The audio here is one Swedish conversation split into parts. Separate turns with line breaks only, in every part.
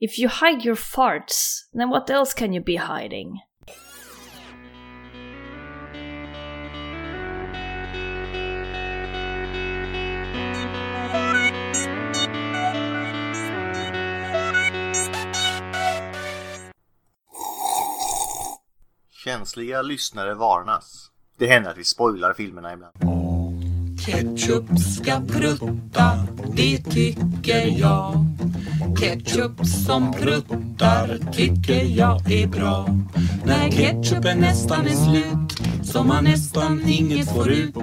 If you hide your farts, then what else can you be hiding?
Känsliga lyssnare varnas. Det händer att vi spoilar filmerna ibland.
Ketchup ska prutta, det tycker jag. Ketchup som pruttar tycker jag är bra. När ketchupen nästan är slut, så man nästan inget får ut,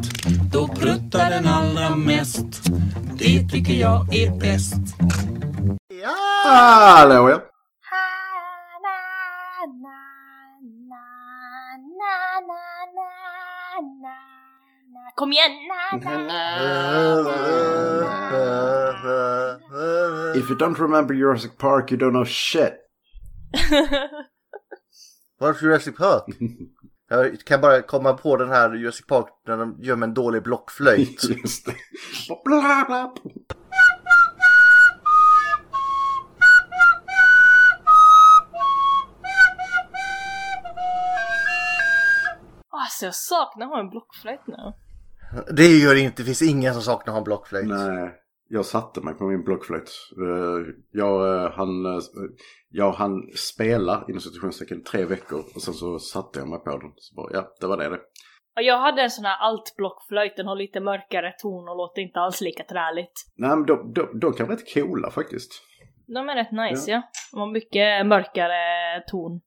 då pruttar den allra mest. Det tycker jag är bäst.
Ja! Hallå ja!
Kom igen!
If you don't remember Jurassic Park you don't know shit.
Varför Jurassic Park? Jag kan bara komma på den här Jurassic Park när de gömmer en dålig blockflöjt.
Just det. Bla, bla.
Alltså jag saknar att ha en blockflöjt nu.
Det gör det inte, det finns ingen som saknar att ha en blockflöjt.
Nej, jag satte mig på min blockflöjt. Eh, Jag, eh, han, eh, jag han spela inom situationstecken tre veckor och sen så satte jag mig på den. Så bara, ja, det var det det.
Och jag hade en sån här alt-blockflöjt, den har lite mörkare ton och låter inte alls lika träligt.
Nej, men de, de, de kan vara rätt coola faktiskt.
De är rätt nice ja. De har mycket mörkare ton.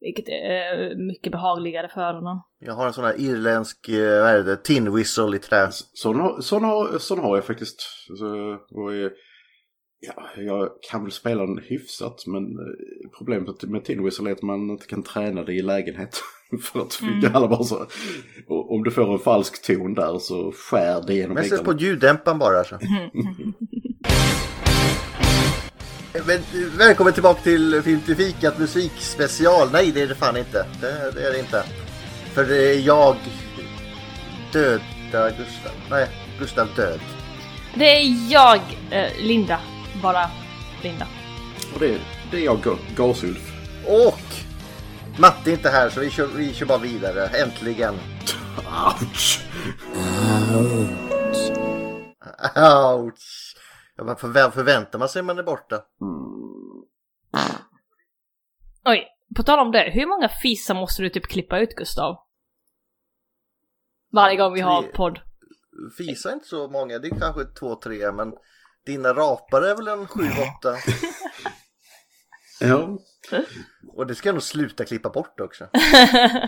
Vilket är eh, mycket behagligare för öronen.
Jag har en sån här irländsk, eh, vad är det, tin whistle i trä.
Sån har, sån har, sån har jag faktiskt. Så, och, eh, ja, jag kan väl spela den hyfsat men eh, problemet med Tin Whistle är att man inte kan träna det i lägenhet. För att vi alla bara så, och om du får en falsk ton där så skär det genom
Men sätt på
väggarna.
ljuddämparen bara alltså. Men, eh, välkommen tillbaka till Filmtifikat musikspecial. Nej, det är det fan inte. Det, det är det inte. För det är jag döda Gustav. Nej, Gustav död.
Det är jag, eh, Linda. Bara Linda.
Och det, det är jag, Ga- Gasulf.
Och Matte är inte här så vi kör, vi kör bara vidare. Äntligen.
Ouch!
Ouch. Ja, men förvä- förväntar man sig man är borta?
Oj, på tal om det. Hur många fisar måste du typ klippa ut, Gustav? Varje gång vi har
Tre.
podd.
Fisa är inte så många, det är kanske två, tre, men dina rapar är väl en sju, åtta.
Ja,
Och det ska jag nog sluta klippa bort också.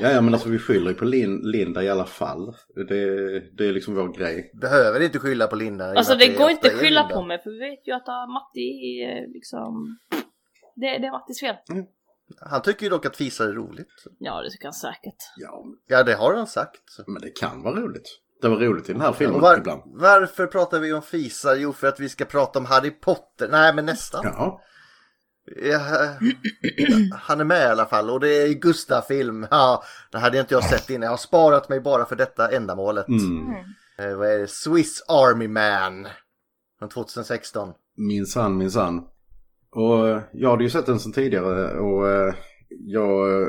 ja, ja men alltså vi skyller ju på Lin, Linda i alla fall. Det, det är liksom vår grej.
Behöver inte skylla på Linda. i och med
Alltså
att
det går
ofta
inte att
är
skylla
Linda.
på mig för vi vet ju att ah, Matti eh, liksom... Det, det är Mattis fel.
Han tycker ju dock att fisa är roligt.
Ja, det tycker han säkert.
Ja,
Ja, det har han sagt.
men det kan vara roligt. Det var roligt i den här filmen
Och var-
ibland.
varför pratar vi om fisar? Jo, för att vi ska prata om Harry Potter. Nej, men nästan.
Ja.
Ja, han är med i alla fall och det är Gustaf-film. Ja, det hade inte jag sett innan. Jag har sparat mig bara för detta ändamålet.
Mm.
Eh, vad är det? Swiss Army Man. Från 2016.
Minsann, minsann. Och eh, jag hade ju sett den sen tidigare och eh, jag eh,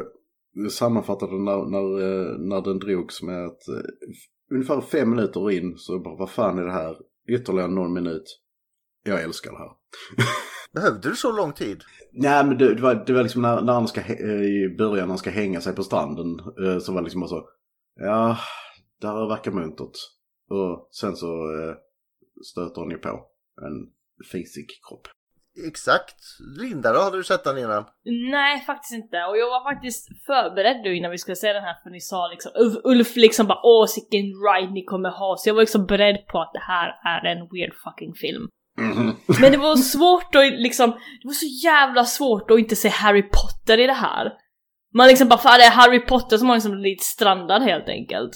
sammanfattade den när, när, eh, när den drogs med att eh, f- ungefär fem minuter in så bara vad fan är det här? Ytterligare någon minut. Jag älskar det här.
Behövde du så lång tid?
Nej men det, det, var, det var liksom när, när han ska, hä- eh, i början när han ska hänga sig på stranden eh, så var det liksom bara så. Ja, det här verkar muntert. Och sen så eh, stöter han ju på en fisig kropp.
Exakt. Linda då, hade du sett den innan?
Nej, faktiskt inte. Och jag var faktiskt förberedd nu innan vi skulle se den här för ni sa liksom Ulf, Ulf liksom bara åh sicken ride ni kommer ha. Så jag var liksom beredd på att det här är en weird fucking film. Men det var svårt att liksom, det var så jävla svårt att inte se Harry Potter i det här. Man liksom bara, fan det är Harry Potter som har liksom blivit strandad helt enkelt.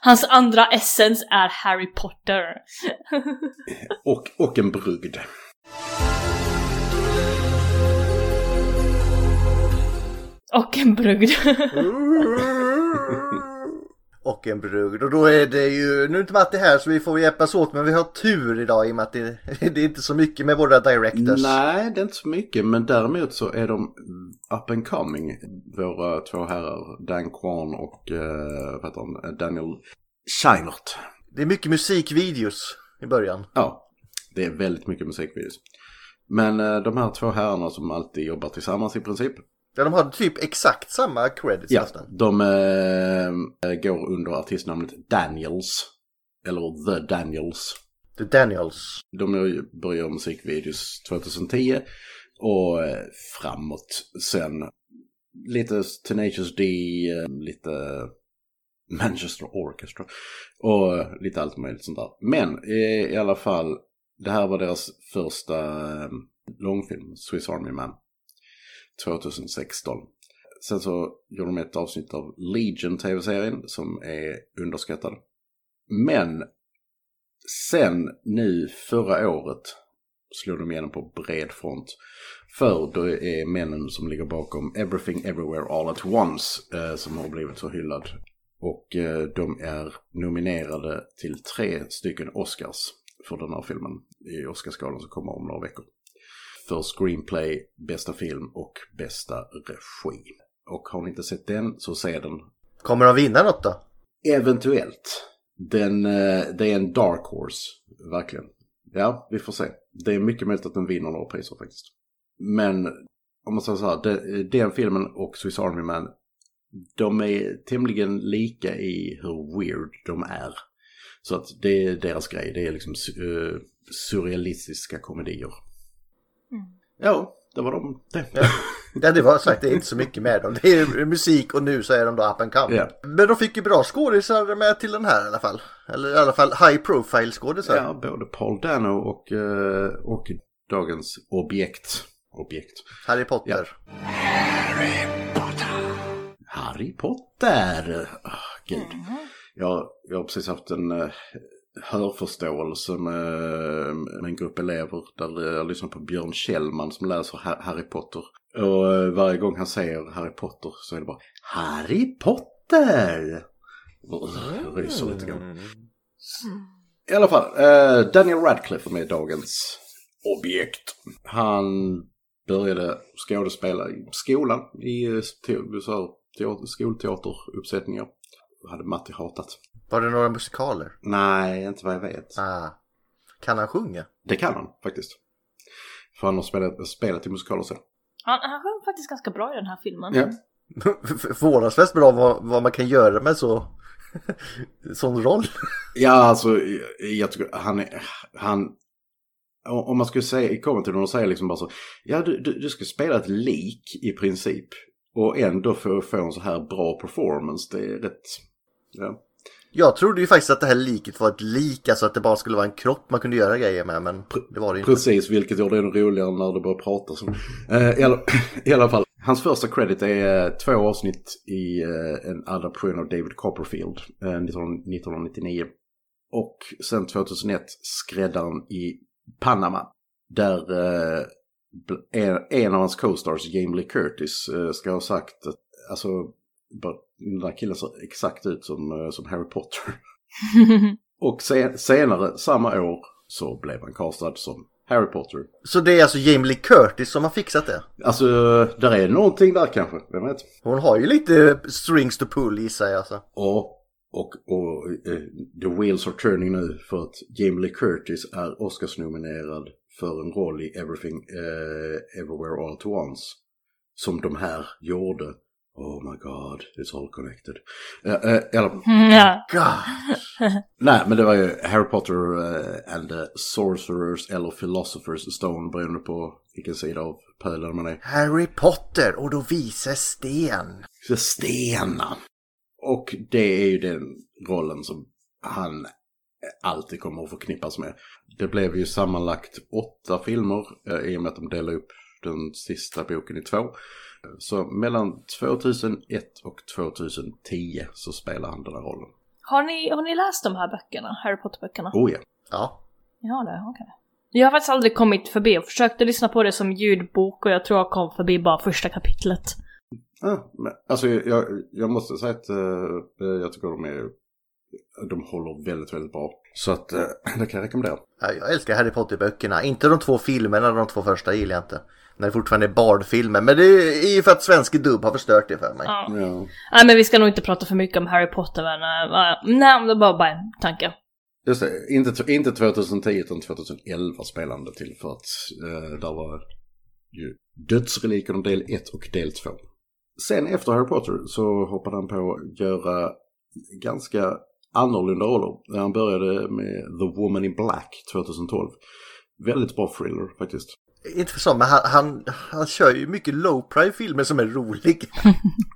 Hans andra essens är Harry Potter.
Och, och en brygd.
Och en brugd.
Och en brugd. Och då är det ju, nu är inte Matti här så vi får hjälpas åt men vi har tur idag i och med att det, det är inte så mycket med våra directors.
Nej, det är inte så mycket. Men däremot så är de up and coming. Våra två herrar, Dan Kwan och eh, vad heter han, Daniel Scheinert.
Det är mycket musikvideos i början.
Ja, det är väldigt mycket musikvideos. Men eh, de här två herrarna som alltid jobbar tillsammans i princip.
Ja, de har typ exakt samma credits nästan.
De eh, går under artistnamnet Daniels. Eller The Daniels.
The Daniels.
De har ju börjat göra musikvideos 2010 och eh, framåt sen. Lite Tenacious D, eh, lite Manchester Orchestra och eh, lite allt möjligt sånt där. Men eh, i alla fall, det här var deras första eh, långfilm, Swiss Army Man, 2016. Sen så gjorde de ett avsnitt av Legion tv-serien som är underskattad. Men Sen nu förra året slog de igenom på bred front. För då är männen som ligger bakom Everything Everywhere All At Once eh, som har blivit så hyllad. Och eh, de är nominerade till tre stycken Oscars för den här filmen i Oscarsgalan som kommer om några veckor. För screenplay, bästa film och bästa regi. Och har ni inte sett den så se den
Kommer de vinna något då?
Eventuellt. Den, eh, det är en dark horse, verkligen. Ja, vi får se. Det är mycket möjligt att den vinner några priser faktiskt. Men om man säger så här, de- den filmen och Swiss Army Man, de är tämligen lika i hur weird de är. Så att det är deras grej, det är liksom su- eh, surrealistiska komedier. Ja, det var de. Det.
Ja, det var sagt, det är inte så mycket med dem. Det är musik och nu så är de då up and coming.
Ja.
Men de fick ju bra skådisar med till den här i alla fall. Eller i alla fall high profile skådisar.
Ja, både Paul Dano och, eh, och dagens objekt. Objekt.
Harry Potter.
Harry Potter! Ah, gud. Jag, jag har precis haft en eh, hörförståelse med, med en grupp elever där jag lyssnar på Björn Kjellman som läser Ha- Harry Potter. Och eh, varje gång han säger Harry Potter så är det bara Harry Potter! Jag ryser lite grann. I alla fall, eh, Daniel Radcliffe är med i dagens objekt. Han började skådespela i skolan i eh, te- så här, teater, skolteateruppsättningar. Hade Matti hatat.
Var det några musikaler?
Nej, inte vad jag vet.
Ah. Kan han sjunga?
Det kan han faktiskt. För han har spelat, spelat i musikaler sen.
Han, han sjöng faktiskt ganska bra i den här filmen.
Ja.
Förvånansvärt bra vad, vad man kan göra med så sån roll.
Ja, alltså jag, jag tycker han är, han, o- om man skulle säga, komma till honom och säga liksom bara så, ja du, du, du ska spela ett lik i princip och ändå få, få en så här bra performance, det är rätt, ja.
Jag trodde ju faktiskt att det här liket var ett lik, alltså att det bara skulle vara en kropp man kunde göra grejer med, men det var det ju inte.
Precis, vilket gör det ännu roligare när det börjar prata. Så. Eh, i, alla, I alla fall, hans första credit är eh, två avsnitt i eh, en adaption av David Copperfield eh, 19, 1999. Och sen 2001 skräddaren i Panama. Där eh, bl- en, en av hans co-stars, Jamie Lee Curtis, eh, ska ha sagt att alltså, bara, den där killen ser exakt ut som, eh, som Harry Potter. Och sen, senare samma år så blev han castad som Harry Potter.
Så det är alltså Jamie Lee Curtis som har fixat det.
Alltså, där är någonting där kanske, vem vet?
Hon har ju lite strings to pull gissar jag alltså.
Ja, och, och eh, the wheels are turning nu för att Jamie Lee Curtis är Oscarsnominerad för en roll i Everything eh, Everywhere All At Once. Som de här gjorde. Oh my god, it's all connected. Eh, eh, eller,
ja.
God.
Nej, men det var ju Harry Potter eh, and the Sorcerers eller Philosophers Stone beroende på vilken sida av pölen man är.
Harry Potter och då visar sten.
Så Stena. Och det är ju den rollen som han alltid kommer att förknippas med. Det blev ju sammanlagt åtta filmer eh, i och med att de delade upp den sista boken i två. Så mellan 2001 och 2010 så spelar han den här rollen.
har, ni, har ni läst de här böckerna? Harry Potter-böckerna?
Oh ja.
Ja,
Ja, det okej. Jag har faktiskt aldrig kommit förbi. Jag försökte lyssna på det som ljudbok och jag tror jag kom förbi bara första kapitlet.
Ja, men, alltså jag, jag måste säga att eh, jag tycker de är, de håller väldigt, väldigt bra. Så att eh, det kan jag rekommendera.
Ja, jag älskar Harry Potter-böckerna. Inte de två filmerna, de två första gillar jag inte. När det fortfarande är Bard-filmer. Men det är ju för att svensk dubb har förstört det för mig.
Ja.
Ja.
Nej men vi ska nog inte prata för mycket om Harry Potter men... Uh, nej, det var bara, bara en tanke.
Just det, inte, inte 2010 utan 2011 spelande till för att eh, där var ju dödsreliken om del 1 och del 2. Sen efter Harry Potter så hoppade han på att göra ganska annorlunda roller. Han började med The Woman in Black 2012. Väldigt bra thriller faktiskt.
Inte för så, men han, han, han kör ju mycket low-prime filmer som är roliga.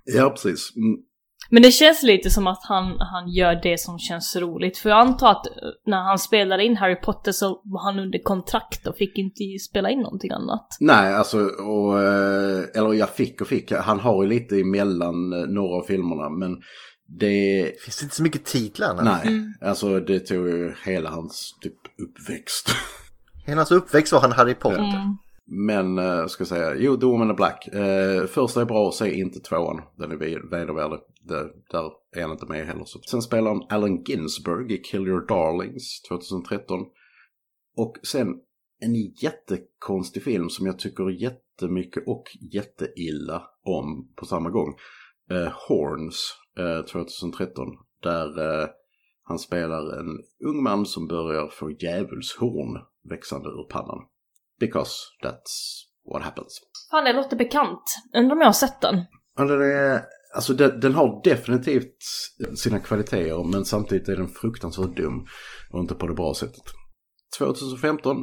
Ja, precis. Mm,
Men det känns lite som att han, han gör det som känns roligt. För jag antar att eh, när han spelade in Harry Potter så var han under kontrakt och fick inte spela in någonting annat.
Nej, alltså, och, eh, eller jag fick och fick. Han har ju lite emellan eh, några av filmerna, men det...
Det finns inte så mycket titlar annars.
Nej, alltså det tog ju hela hans typ uppväxt.
Hela hans uppväxt var han Harry Potter.
Mm.
Men, eh, ska jag säga, jo, The Woman in Black. Eh, första är bra, se inte tvåan. Den är vid- vedervärdig. Det- Där är han inte med heller. Så. Sen spelar han Allen Ginsberg i Kill Your Darlings 2013. Och sen en jättekonstig film som jag tycker jättemycket och jätteilla om på samma gång. Eh, Horns eh, 2013. Där eh, han spelar en ung man som börjar få djävulshorn växande ur pannan. Because that's what happens.
Fan, det låter bekant. Undrar om jag har sett den?
Ja, Den, är, alltså den, den har definitivt sina kvaliteter men samtidigt är den fruktansvärt dum och inte på det bra sättet. 2015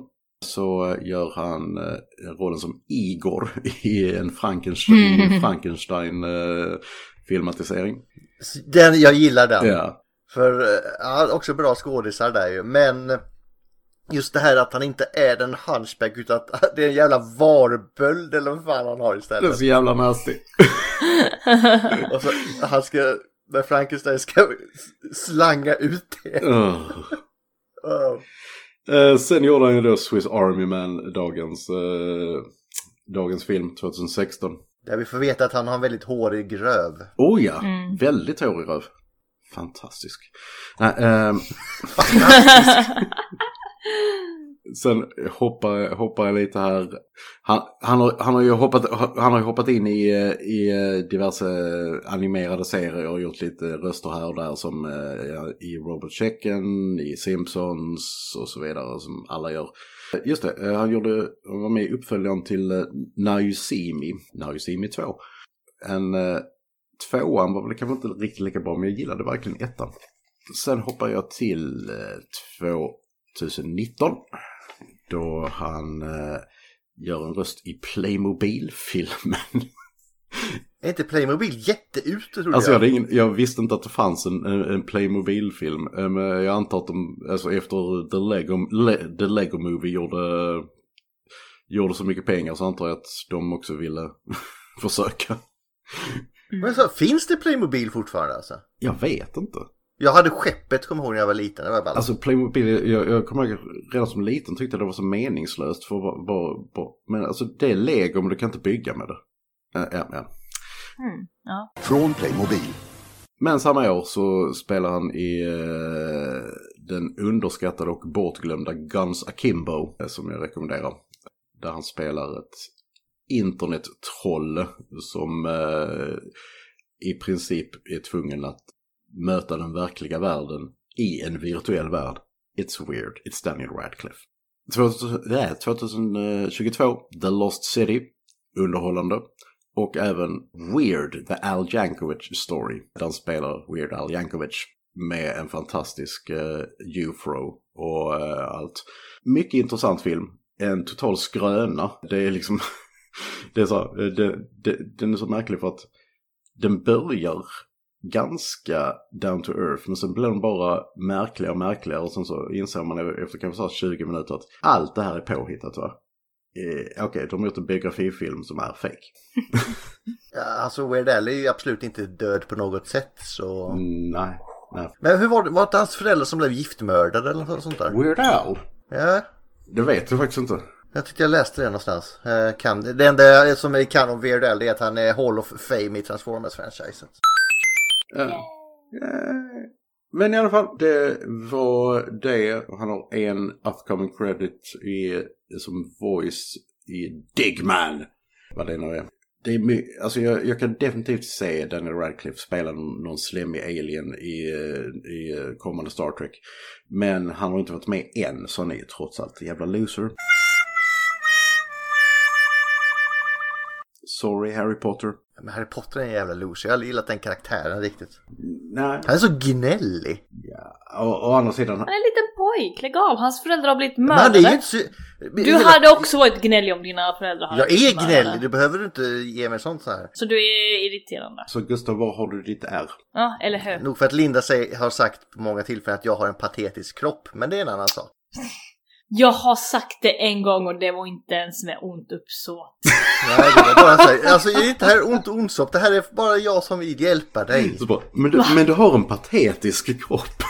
så gör han eh, rollen som Igor i en Frankenstein, Frankenstein eh, filmatisering.
Så Den, jag gillar den.
Ja.
För, eh, ja, också bra skådisar där ju. Men just det här att han inte är en hunchback utan att det är en jävla varböld eller vad fan han har
Den är
istället.
så jävla nasty.
Och så, han ska, när Frankenstein ska slanga ut det.
Ugh.
Ja.
Eh, sen gjorde han ju då Swiss Army Man, dagens, eh, dagens film 2016.
Där vi får veta att han har en väldigt hårig röv.
Oh ja,
Mm.
väldigt hårig röv. Fantastisk. Nej, ehm, sen hoppar, hoppar jag lite här. Han, han, har, han, har ju hoppat, han har ju hoppat in i, eh, i eh, diverse animerade serier och gjort lite röster här och där som eh, ja, i Robot Chicken, i Simpsons och så vidare som alla gör. Just det, eh, han, gjorde, han var med i uppföljaren till eh, Now You See Me, Now You See Me 2. En eh, Tvåan var väl kanske inte riktigt lika bra, men jag gillade verkligen ettan. Sen hoppar jag till eh, 2019. Då han eh, gör en röst i Playmobil-filmen.
Är inte Playmobil jätteute trodde
Alltså jag,
jag?
hade ingen, jag visste inte att det fanns en, en, en Playmobil-film. Eh, Men jag antar att de, alltså efter The Lego, Le, The Lego Movie gjorde, gjorde så mycket pengar så antar jag att de också ville försöka.
Men så, finns det Playmobil fortfarande alltså?
Jag vet inte.
Jag hade skeppet, kommer ihåg när jag var liten. Det var ballt.
Alltså Playmobil, jag, jag kommer ihåg redan som liten tyckte det var så meningslöst för vad, vad, vad, men alltså det är lego men du kan inte bygga med det. Ja, ja, ja.
Mm, ja.
Från Playmobil.
Men samma år så spelar han i eh, den underskattade och bortglömda Guns Akimbo eh, som jag rekommenderar. Där han spelar ett internettroll som eh, i princip är tvungen att möta den verkliga världen i en virtuell värld. It's weird, it's Daniel Radcliffe. 2000, nej, 2022, eh, The Lost City, underhållande. Och även Weird, The Al Jankovic Story. Där han spelar Weird Al Jankovic med en fantastisk eh, ufro och eh, allt. Mycket intressant film. En total skröna. Det är liksom... det är så, här, eh, det, det, den är så märklig för att den börjar ganska down to earth men sen blir den bara märkligare och märkligare och sen så inser man efter kanske så här 20 minuter att allt det här är påhittat va? Eh, Okej, de har gjort en biografifilm som är fake.
Ja, alltså Weird Al är ju absolut inte död på något sätt så...
Mm, nej, nej.
Men hur var det, var inte hans föräldrar som blev giftmördade eller något sånt där?
Weird Al?
Ja.
Det vet jag faktiskt inte.
Jag tyckte jag läste det någonstans. Eh, kan, det enda som vi kan om Weird Al är att han är Hall of Fame i Transformers-franchiset.
Eh, eh, Men i alla fall, det var det. Han har en upcoming credit i, som voice i Digman. Vad det nu är. Det är my- alltså jag, jag kan definitivt se Daniel Radcliffe spela någon någon slemmig alien i, eh, i eh, kommande Star Trek. Men han har inte varit med än, så han är ju trots allt en jävla loser. Sorry Harry Potter.
Men Harry Potter är en jävla loser. Jag har aldrig gillat den karaktären riktigt.
Nej,
Han är så gnällig.
å, å andra sidan.
Han är en liten pojk, lägg av. Hans föräldrar har blivit
Men han är ju
mördade.
inte så...
Du hade också varit gnällig om dina föräldrar hade
Jag
blivit
är
mördade.
gnällig, du behöver inte ge mig sånt så här.
Så du är irriterande.
Så Gustav, var har du ditt R?
Ja, eller hur?
Nog för att Linda säger, har sagt på många tillfällen att jag har en patetisk kropp, men det är en annan sak.
Jag har sagt det en gång och det var inte ens med ont uppsåt.
Nej, det var bara så här. Alltså det är inte här ont onsopp, det här är bara jag som vill hjälpa dig.
Så bara, men, du, men du har en patetisk kropp.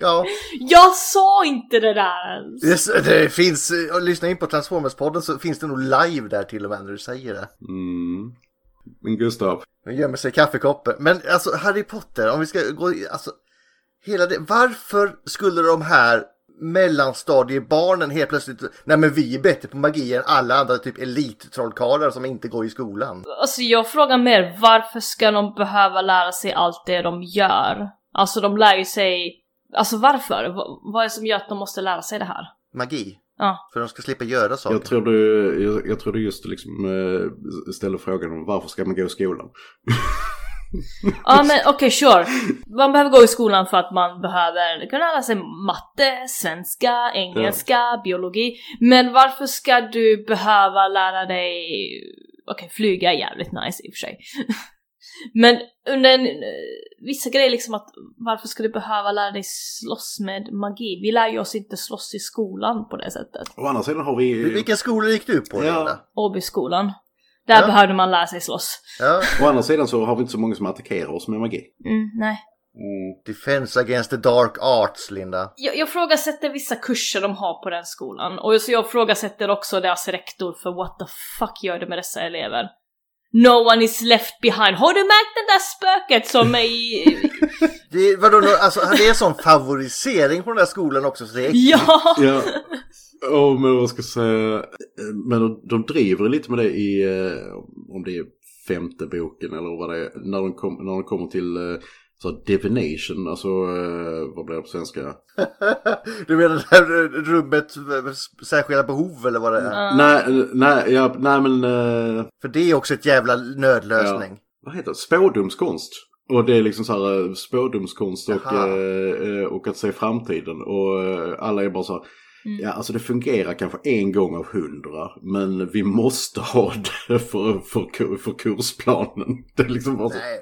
Ja,
Jag sa inte det där ens!
det, det finns, eh, lyssna in på Transformers-podden så finns det nog live där till och med när du säger det.
Mm. Men Gustav,
Nu gömmer sig i kaffekoppen. Men alltså Harry Potter, om vi ska gå i- alltså hela det. Varför skulle de här mellanstadiebarnen helt plötsligt, nej men vi är bättre på magi än alla andra typ elittrollkarlar som inte går i skolan.
Alltså jag frågar mer, varför ska de behöva lära sig allt det de gör? Alltså de lär ju sig... Alltså varför? Va- vad är det som gör att de måste lära sig det här?
Magi.
Ja.
För de ska slippa göra saker.
jag tror du, jag, jag tror du just liksom eh, ställer frågan om varför ska man gå i skolan?
Ja men okej, sure. Man behöver gå i skolan för att man behöver kunna lära sig matte, svenska, engelska, biologi. Men varför ska du behöva lära dig... Okej, flyga är jävligt nice i och för sig. men under en, eh, vissa grejer liksom att varför ska du behöva lära dig slåss med magi? Vi lär ju oss inte slåss i skolan på det sättet.
Å andra sidan har vi...
Vilken skola gick du på
Ja.
Linda?
Åbyskolan. Där
Ja.
behövde man lära sig slåss.
Ja.
Å andra sidan så har vi inte så många som attackerar oss med magi.
Mm, nej.
Mm.
Defense against the dark arts Linda.
jag, jag frågasätter vissa kurser de har på den skolan. Och så jag frågasätter också deras rektor för what the fuck gör du med dessa elever? No one is left behind. Har du märkt den där spöket som är i...
Det, är- vadå, nu- alltså, det är sån favorisering på den där skolan också så det är
ja!
Ja. Oh, men vad ska jag säga? Men de, de driver lite med det i, eh, om det är femte boken eller vad det är, när de, kom, när de kommer till eh, så här divination, alltså eh, vad blir det på svenska?
Du menar det här rummet med särskilda behov eller vad det är?
Nej, nej, ja, nej men eh,
För det är också ett jävla nödlösning.
vad heter det? Spådomskonst. Och det är liksom så här eh, spådomskonst och,
Jaha.
eh, eh, och att se framtiden. Och eh, alla är bara så här,
Mm.
ja alltså det fungerar kanske en gång av hundra. Men vi måste ha det för, för, kur- för kursplanen. Det är liksom bara så,
Nej,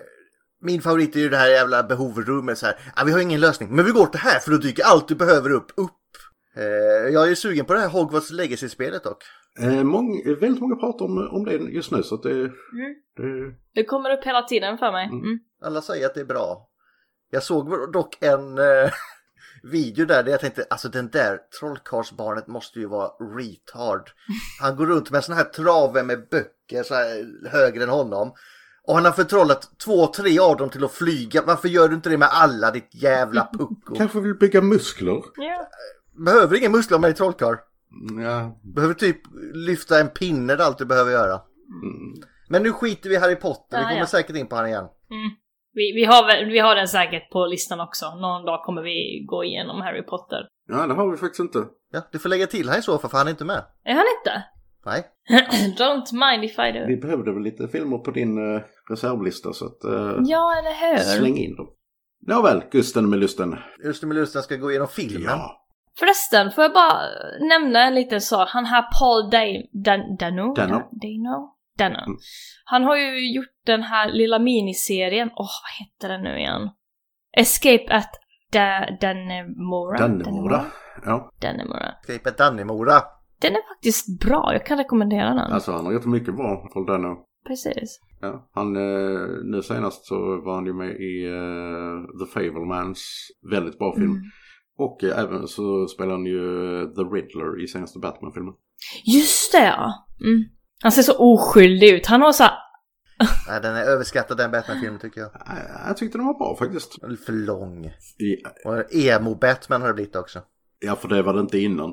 Min favorit är ju det här jävla behovrummet så här. Ah, vi har ingen lösning, men vi går till här för då dyker allt du behöver upp, upp. Eh, jag är sugen på det här Hogwarts Legacy-spelet dock.
eh, mång, väldigt många pratar om, om det just nu så att det,
Mm.
det
Det kommer upp hela tiden för mig. Mm.
Alla säger att det är bra. Jag såg dock en eh, video där, där jag tänkte alltså den där trollkarlsbarnet måste ju vara retard. Han går runt med sån här trave med böcker så här, högre än honom. Och han har förtrollat två, tre av dem till att flyga. Varför gör du inte det med alla ditt jävla pucko?
kanske vill bygga muskler.
Ja.
Behöver ingen muskler om jag är trollkarl. Mm.
Ja,
Behöver typ lyfta en pinne, det är allt du behöver göra.
Mm.
Men nu skiter vi i Harry Potter, vi
Ja,
kommer
ja.
säkert in på han igen.
Vi, vi, har, väl- vi har den säkert på listan också. Någon dag kommer vi gå igenom Harry Potter.
ja det har vi faktiskt inte.
Ja, du får lägga till han i så fall, för han är inte med.
Är han inte?
Nej.
Don't mind if I do.
Vi behövde väl lite filmer på din eh, reservlista så att... eh,
Ja, eller hur?
Släng in dem. Nåväl, Gusten med lusten.
Östen med lusten ska gå igenom filmen.
Ja,
Förresten, får jag bara nämna en liten sak. Han här Paul Day, Dan, Dano?
Dano.
Da- Dano? Dano.
Mm.
Han har ju gjort den här lilla miniserien, åh vad heter den nu igen? Escape at da, Dannemora.
Dannemora. Ja,
Dannemora.
Gripe Dannemora.
Den är faktiskt bra, jag kan rekommendera den.
alltså han har gjort mycket bra, Paul Dano.
Precis.
Ja, han, eh, nu senast så var han ju med i eh, The Fablemans, väldigt bra film.
Mm.
Och eh, även så spelar han ju eh, The Riddler i senaste Batman-filmen.
Just det ja! Mm. Han ser så oskyldig ut. Han har så här,
Nej, den är överskattad den Batman-filmen tycker jag.
Jag, jag tyckte den var bra faktiskt.
Den är För lång.
Ja,
Och emo-Batman har det blivit också.
Ja, för det var det inte innan.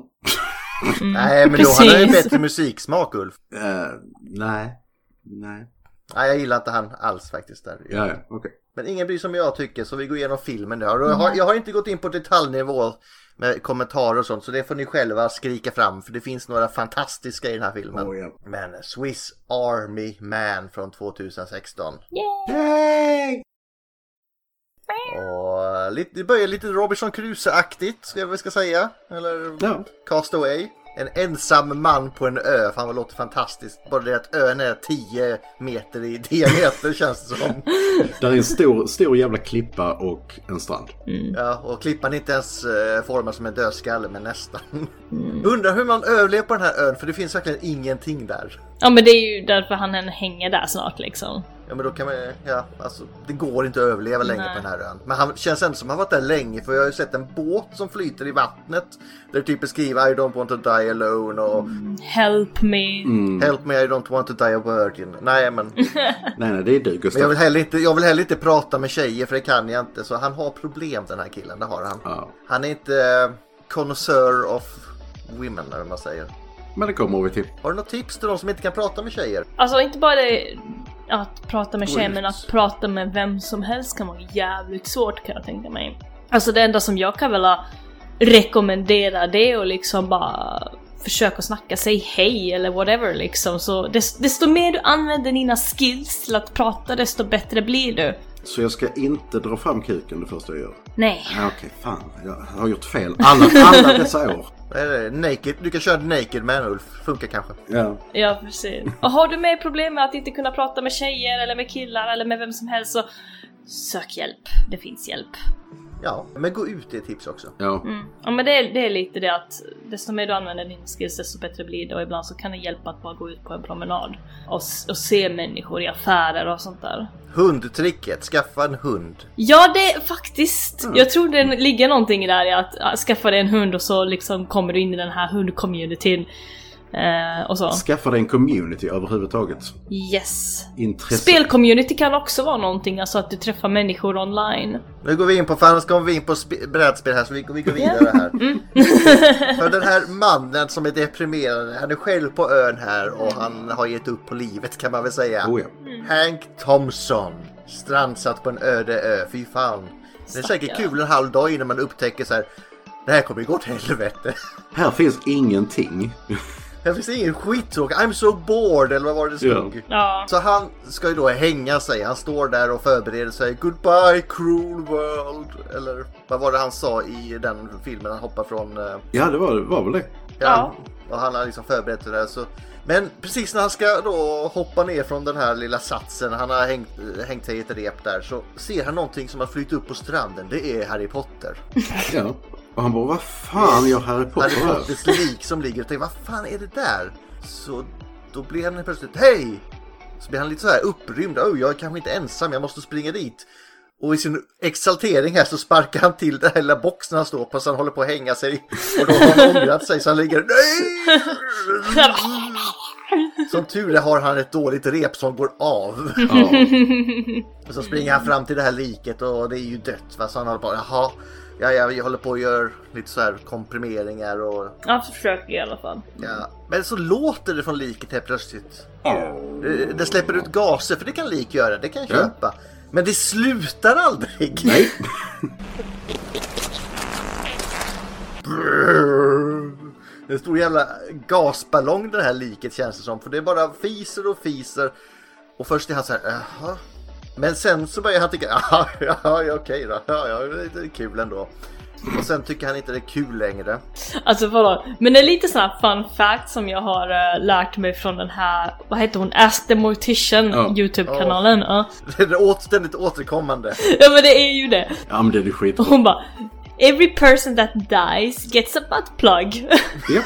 mm,
Nej, men då hade han ju
precis.
bättre musiksmak Ulf.
Eh, nej. Nej.
Nej, jag gillar inte han alls faktiskt där.
Ja, ja, okej.
Men ingen bryr sig om jag tycker så vi går igenom filmen nu. Och Jag
Mm.
har, jag har inte gått in på detaljnivå med kommentarer och sånt så det får ni själva skrika fram för det finns några fantastiska i den här filmen.
Oh, ja.
Men Swiss Army Man från 2016.
Yay!
Och lite, det börjar lite Robinson Crusoe-aktigt ska jag väl ska säga. Eller
Ja.
Castaway. En ensam man på en ö. Fan vad låter fantastiskt. Bara det att ön är 10 meter i diameter känns det som.
Där är en stor, stor jävla klippa och en strand.
Ja, och klippan är inte ens eh, formad som en dödskalle, men nästan.
Mm.
Undrar hur man överlever på den här ön, för det finns verkligen ingenting där.
Ja men det är ju därför han än hänger där snart liksom.
Ja, men då kan man ja, alltså det går inte att överleva länge
Nej.
på den här ön. Men han känns ändå som han varit där länge, för jag har ju sett en båt som flyter i vattnet. Där det typ beskriver I don't want to die alone och
Mm.
Help me.
Help me I don't want to die a virgin. Nej, men, men
Nej, nej, det är du Gustav.
jag, vill heller inte, jag vill heller inte prata med tjejer, för det kan jag inte. Så han har problem den här killen, det har han.
Ja.
Han är inte eh, connoisseur of women, eller vad man säger.
Men det kommer vi till.
Har du något tips till de som inte kan prata med tjejer?
Alltså inte bara det att prata med
Gå
tjejer
ut.
men att prata med vem som helst kan vara jävligt svårt kan jag tänka mig. Alltså det enda som jag kan väl rekommendera det är att liksom bara försöka snacka, säg hej eller whatever liksom. Så des- desto mer du använder dina skills till att prata desto bättre blir du.
Så jag ska inte dra fram kuken det första jag gör.
Nej.
Ja, Okej, fan. Jag har gjort fel alla, alla dessa år.
Vad är det? Naked. Du kan köra naked man Ulf, funkar kanske.
Ja.
Ja precis. Och har du mer problem med att inte kunna prata med tjejer eller med killar eller med vem som helst så sök hjälp. Det finns hjälp.
Ja, men gå ut det är ett tips också.
Ja.
Mm. Ja men det är, det är lite det att desto mer du använder din skills desto bättre blir det och ibland så kan det hjälpa att bara gå ut på en promenad och, s- och se människor i affärer och sånt där.
Hundtricket, skaffa en hund.
Ja det faktiskt!
Mm.
Jag tror det ligger någonting där i att ja, skaffa dig en hund och så liksom kommer du in i den här hundcommunityn. Eh, och så.
Skaffa dig en community överhuvudtaget.
Yes!
Intresse.
Spelcommunity kan också vara någonting, alltså att du träffar människor online.
Nu går vi in på, för annars kommer vi in på sp- brädspel här så vi, vi går vidare här. För den här mannen som är deprimerad, han är själv på ön här och han har gett upp på livet kan man väl säga.
Oh, ja.
Hank Thompson, strandsatt på en öde ö, fy fan. Det är säkert
Stackarn.
kul en halv dag innan man upptäcker så här. Det här kommer ju gå åt helvete.
Här finns ingenting.
Här finns ingen skittråkig. I'm so bored eller vad var det stod?
Ja.
Ja.
Så han ska ju då hänga sig. Han står där och förbereder sig. Goodbye cruel world. Eller vad var det han sa i den filmen? Han hoppar från... eh,
Ja, det var, var väl det.
Ja.
Och han har liksom förberett sig där. Så... Men precis när han ska då hoppa ner från den här lilla satsen. Han har hängt, eh, hängt sig i ett rep där. Så ser han någonting som har flytt upp på stranden. Det är Harry Potter.
Ja. Och han bara, vad fan gör Harry
Harry
Potter här?
Potters lik som ligger och tänker vad fan är det där? Så då blir han plötsligt hej! Så blir han lite så här upprymd. Oh, jag är kanske inte ensam, jag måste springa dit. Och i sin exaltering här så sparkar han till den här lilla boxen han står på så han håller på att hänga sig. Och då har han ångrat sig så han ligger nej! Som tur är har han ett dåligt rep som går av.
Ja.
Och så springer han fram till det här liket och det är ju dött. Va? Så han håller på, jaha, ja, ja, jag håller på och gör lite så här komprimeringar och
Han försöker i alla fall.
Ja, men så låter det från liket helt plötsligt. Det, det släpper ut gaser, för det kan lik göra, det kan jag
Ja.
köpa. Men det slutar aldrig!
Nej.
En stor jävla gasballong det här liket känns det som, för det är bara fiser och fiser. Och först är han så här, jaha. Men sen så börjar han tycka, "Jaha, ja, ja, okej då, ja, ja, det är kul ändå. Och sen tycker han inte det är kul längre.
Alltså vadå? Men det är lite sån här fun fact som jag har eh, lärt mig från den här, vad heter hon? Ask the Mortician
Ja.
Youtube-kanalen. Ja.
Det är åt- ständigt återkommande.
ja men det är ju det.
Ja, men det är skit.
Och hon bara Every person that dies gets a butt plug.
Ja.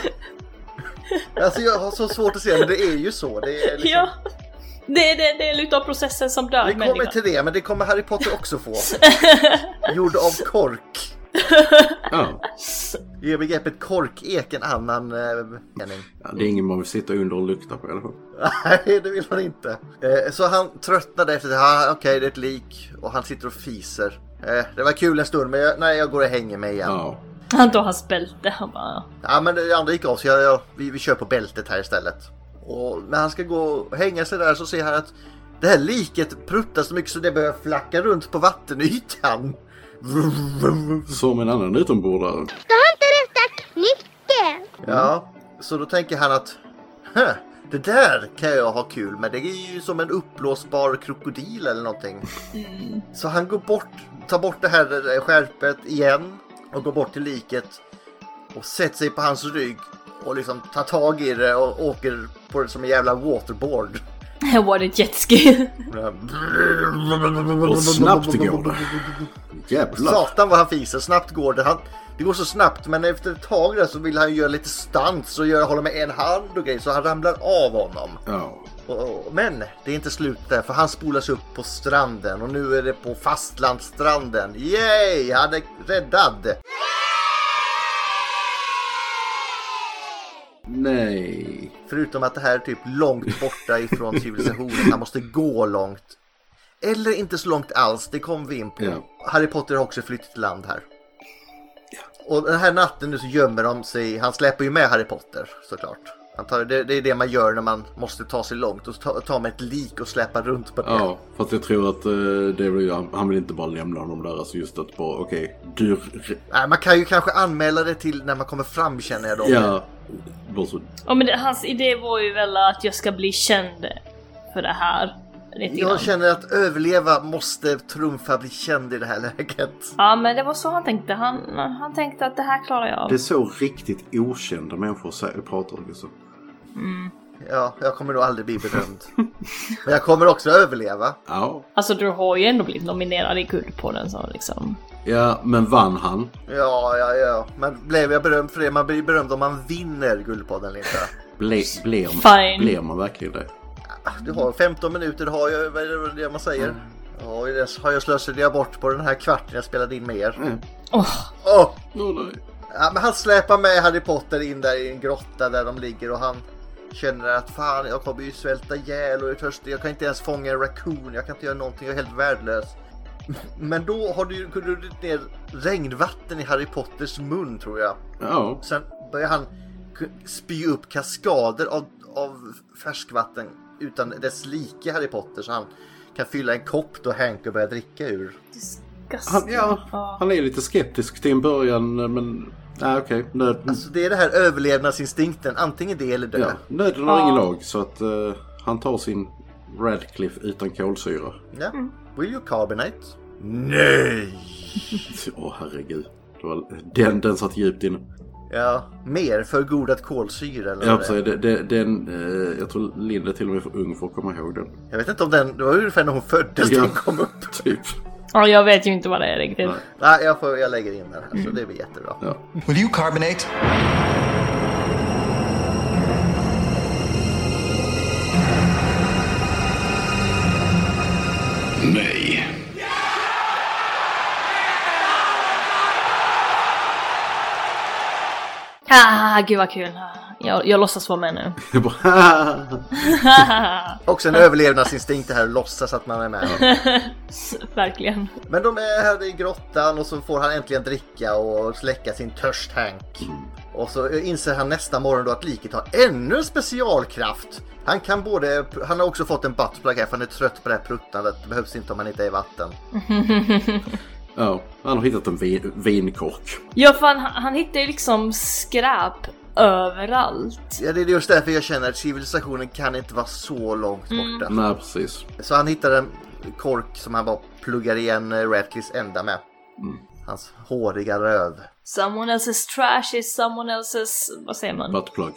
Alltså jag har så svårt att se, men det är ju så. Det är liksom...
ja. Det är det, det är lite av processen som dör
Vi kommer
människan.
till det, men det kommer Harry Potter också få. Gjord av kork.
ja.
Ger begreppet korkek en annan eh, mening?
Ja, det är ingen man vill sitta under och lukta på i alla fall.
Nej, det vill man inte. Eh, så han tröttnade efter det. Ah, Okej, det är ett lik och han sitter och fiser. Eh, det var kul en stund, men jag, nej, jag går och hänger mig igen. Ja,
Ja.
Han tog hans bälte. Han bara...
men det andra gick av så jag, jag, vi, vi kör på bältet här istället. Och när han ska gå och hänga sig där så ser han att det här liket pruttar så mycket så det börjar flacka runt på vattenytan.
Som en annan utombordare.
har inte rätta knycken.
Ja, så då tänker han att "Huh, det där kan jag ha kul med. Det är ju som en uppblåsbar krokodil eller någonting. Så han går bort, tar bort det här eh, skärpet igen och går bort till liket och sätter sig på hans rygg och liksom tar tag i det och åker på det som en jävla waterboard.
What a jetski.
Och snabbt går det. Jävlar.
Satan vad han fiser, snabbt går det. Han, det går så snabbt men efter ett tag där så vill han ju göra lite stans och göra, hålla med en hand och grejer så han ramlar av honom.
Ja.
Och- och- Men det är inte slut där för han spolas upp på stranden och nu är det på fastlandsstranden. Yay! Han är räddad!
Nej.
Förutom att det här är typ långt borta ifrån civilisationen. Han måste gå långt. Eller inte så långt alls, det kom vi in på.
Ja.
Harry Potter har också flyttat till land här. Och den här natten nu så gömmer de sig. Han släpper ju med Harry Potter såklart. Han tar, det, det är det man gör när man måste ta sig långt. Och så ta, ta med ett lik och släpa runt på det.
Ja, fast jag tror att eh, det blir, han, han vill inte bara lämna honom där. Alltså just att bara, okej, du...
Nej, man kan ju kanske anmäla det till när man kommer fram känner jag då.
Ja. Bara så,
Ja men det, hans idé var ju väl att jag ska bli känd för det här. Lite grann.
Jag känner att överleva måste trumfa bli känd i det här läget.
Ja men det var så han tänkte. Han, han tänkte att det här klarar jag av.
det är så riktigt okända människor sä- pratar liksom.
Ja, jag kommer nog aldrig bli berömd. Men jag kommer också överleva.
Ja.
Alltså du har ju ändå blivit nominerad i Guldpodden så liksom.
Ja, men vann han?
Ja, ja, ja. Men blev jag berömd för det? Man blir berömd om man vinner Guldpodden eller inte.
Ble, blir,
Fine.
blir man verkligen det?
Ah, Du har 15 minuter, har jag, vad är det man säger? Ja, det har jag slösat jag bort på den här kvarten jag spelade in med er.
Mm.
Åh,
Åh!
No, nej.
Ja, men han släpar med Harry Potter in där i en grotta där de ligger och han känner att fan jag kommer ju svälta ihjäl och är törstig. Jag kan inte ens fånga en raccoon. Jag kan inte göra någonting. Jag är helt värdelös. Men då har du drunnit ner regnvatten i Harry Potters mun tror jag.
Ja.
Sen börjar han k- spy upp kaskader av, av färskvatten utan dess like Harry Potter så han kan fylla en kopp då Hank och börja dricka ur.
disgusting.
Han, ja, han är lite skeptisk till en början, men... Nej, okej. Nöd,
Alltså det är det här överlevnadsinstinkten. Antingen det eller dö.
ja, nöden har
Ja.
ingen lag, så att eh, han tar sin Radcliffe utan kolsyra.
Ja. Will you carbonate? Nej!
Åh, herregud. Det var, den, den satt djupt inne.
Ja, mer för godat kolsyra eller
Ja,
vad det är.
precis. Det- det- den, eh, jag tror Linda är till och med för ung för att komma ihåg den.
Jag vet inte om den, det var ju ungefär när hon föddes
Ja.
den kom upp.
Typ.
Ja, jag vet ju inte vad det är riktigt.
Nej.
Nej, jag, får, jag lägger in den här så det blir jättebra.
Ja.
Will you carbonate?
Nej.
Ah, gud vad kul. Ah, Jag, jag låtsas vara med nu.
Jag bara,
Också en överlevnadsinstinkt det här att låtsas att man är med.
Verkligen.
Men de är här i grottan och så får han äntligen dricka och släcka sin törst Hank.
Mm.
Och så inser han nästa morgon då att liket har ännu en specialkraft. Han kan både, han har också fått en buttplug här för han är trött på det här pruttandet. Det behövs inte om man inte är i vatten.
ja, han har hittat en vin, vinkork.
Ja, fan, han, han hittar ju liksom skräp överallt.
Ja, det är just därför jag känner att civilisationen kan inte vara så långt borta.
Nej, precis.
Så han hittade en kork som han bara pluggar igen eh, Ratcliffes ända med.
Mm.
Hans håriga röv.
Someone else's trash is someone else's... Vad säger man?
Buttplug.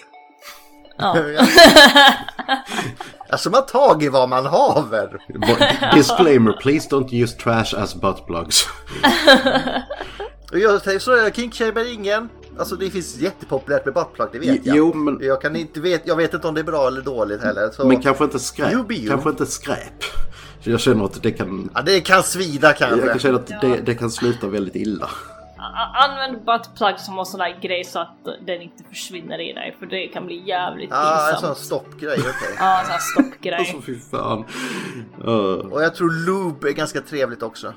Ja.
alltså man tag i vad man haver.
Bara- Disclaimer, please don't use trash as buttplugs.
Och jag säger så, jag kinkshamer ingen. Alltså det finns jättepopulärt med buttplug, det vet jag.
Jo, men,
Jag, kan inte vet, jag vet inte om det är bra eller dåligt heller. Så...
men kanske inte skräp.
You be you.
Kanske inte skräp. Så Jag känner att det kan...
Ja, det kan svida kanske.
Jag kan känna att det, det kan sluta väldigt illa.
a- använd buttplug som har sån där grej så att den inte försvinner i dig för det kan bli jävligt
Ah, en
pinsamt.
sån stoppgrej, okej.
Ja, en sån här
Alltså
stoppgrej.
fy fan. Uh,
Och jag tror lube är ganska trevligt också.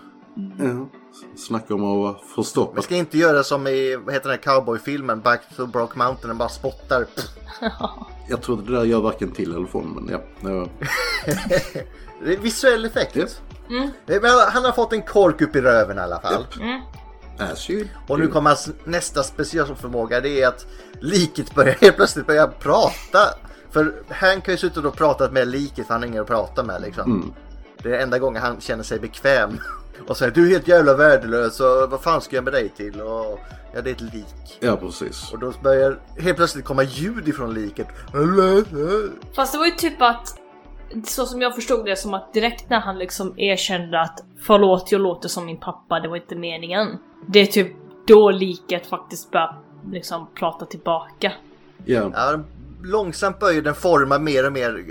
ja. Snacka om att vara
Vi
förstoppad.
ska inte göra som i, vad heter den här cowboyfilmen, Back to Broke Mountain, den bara spottar. Pff,
Jag tror att det där gör varken till eller från men ja. ja.
det är en visuell effekt.
Japp.
Men han- han har fått en kork upp i röven i alla fall.
Mm.
Ashy.
Och nu kommer hans nästa specialförmåga, det är att liket börjar helt plötsligt börja prata. För Hank har ju suttit och pratat med liket, han har ingen att prata med liksom.
Mm.
Det är den enda gången han känner sig bekväm. Och säger du är helt jävla värdelös och vad fan ska jag med dig till? Och, ja, det är ett lik.
Ja precis.
Och då börjar helt plötsligt komma ljud ifrån liket.
Fast det var ju typ att, så som jag förstod det, som att direkt när han liksom erkände att förlåt, jag låter som min pappa, det var inte meningen. Det är typ då liket faktiskt börjar liksom prata tillbaka.
Ja.
Ja, långsamt börjar den forma mer och mer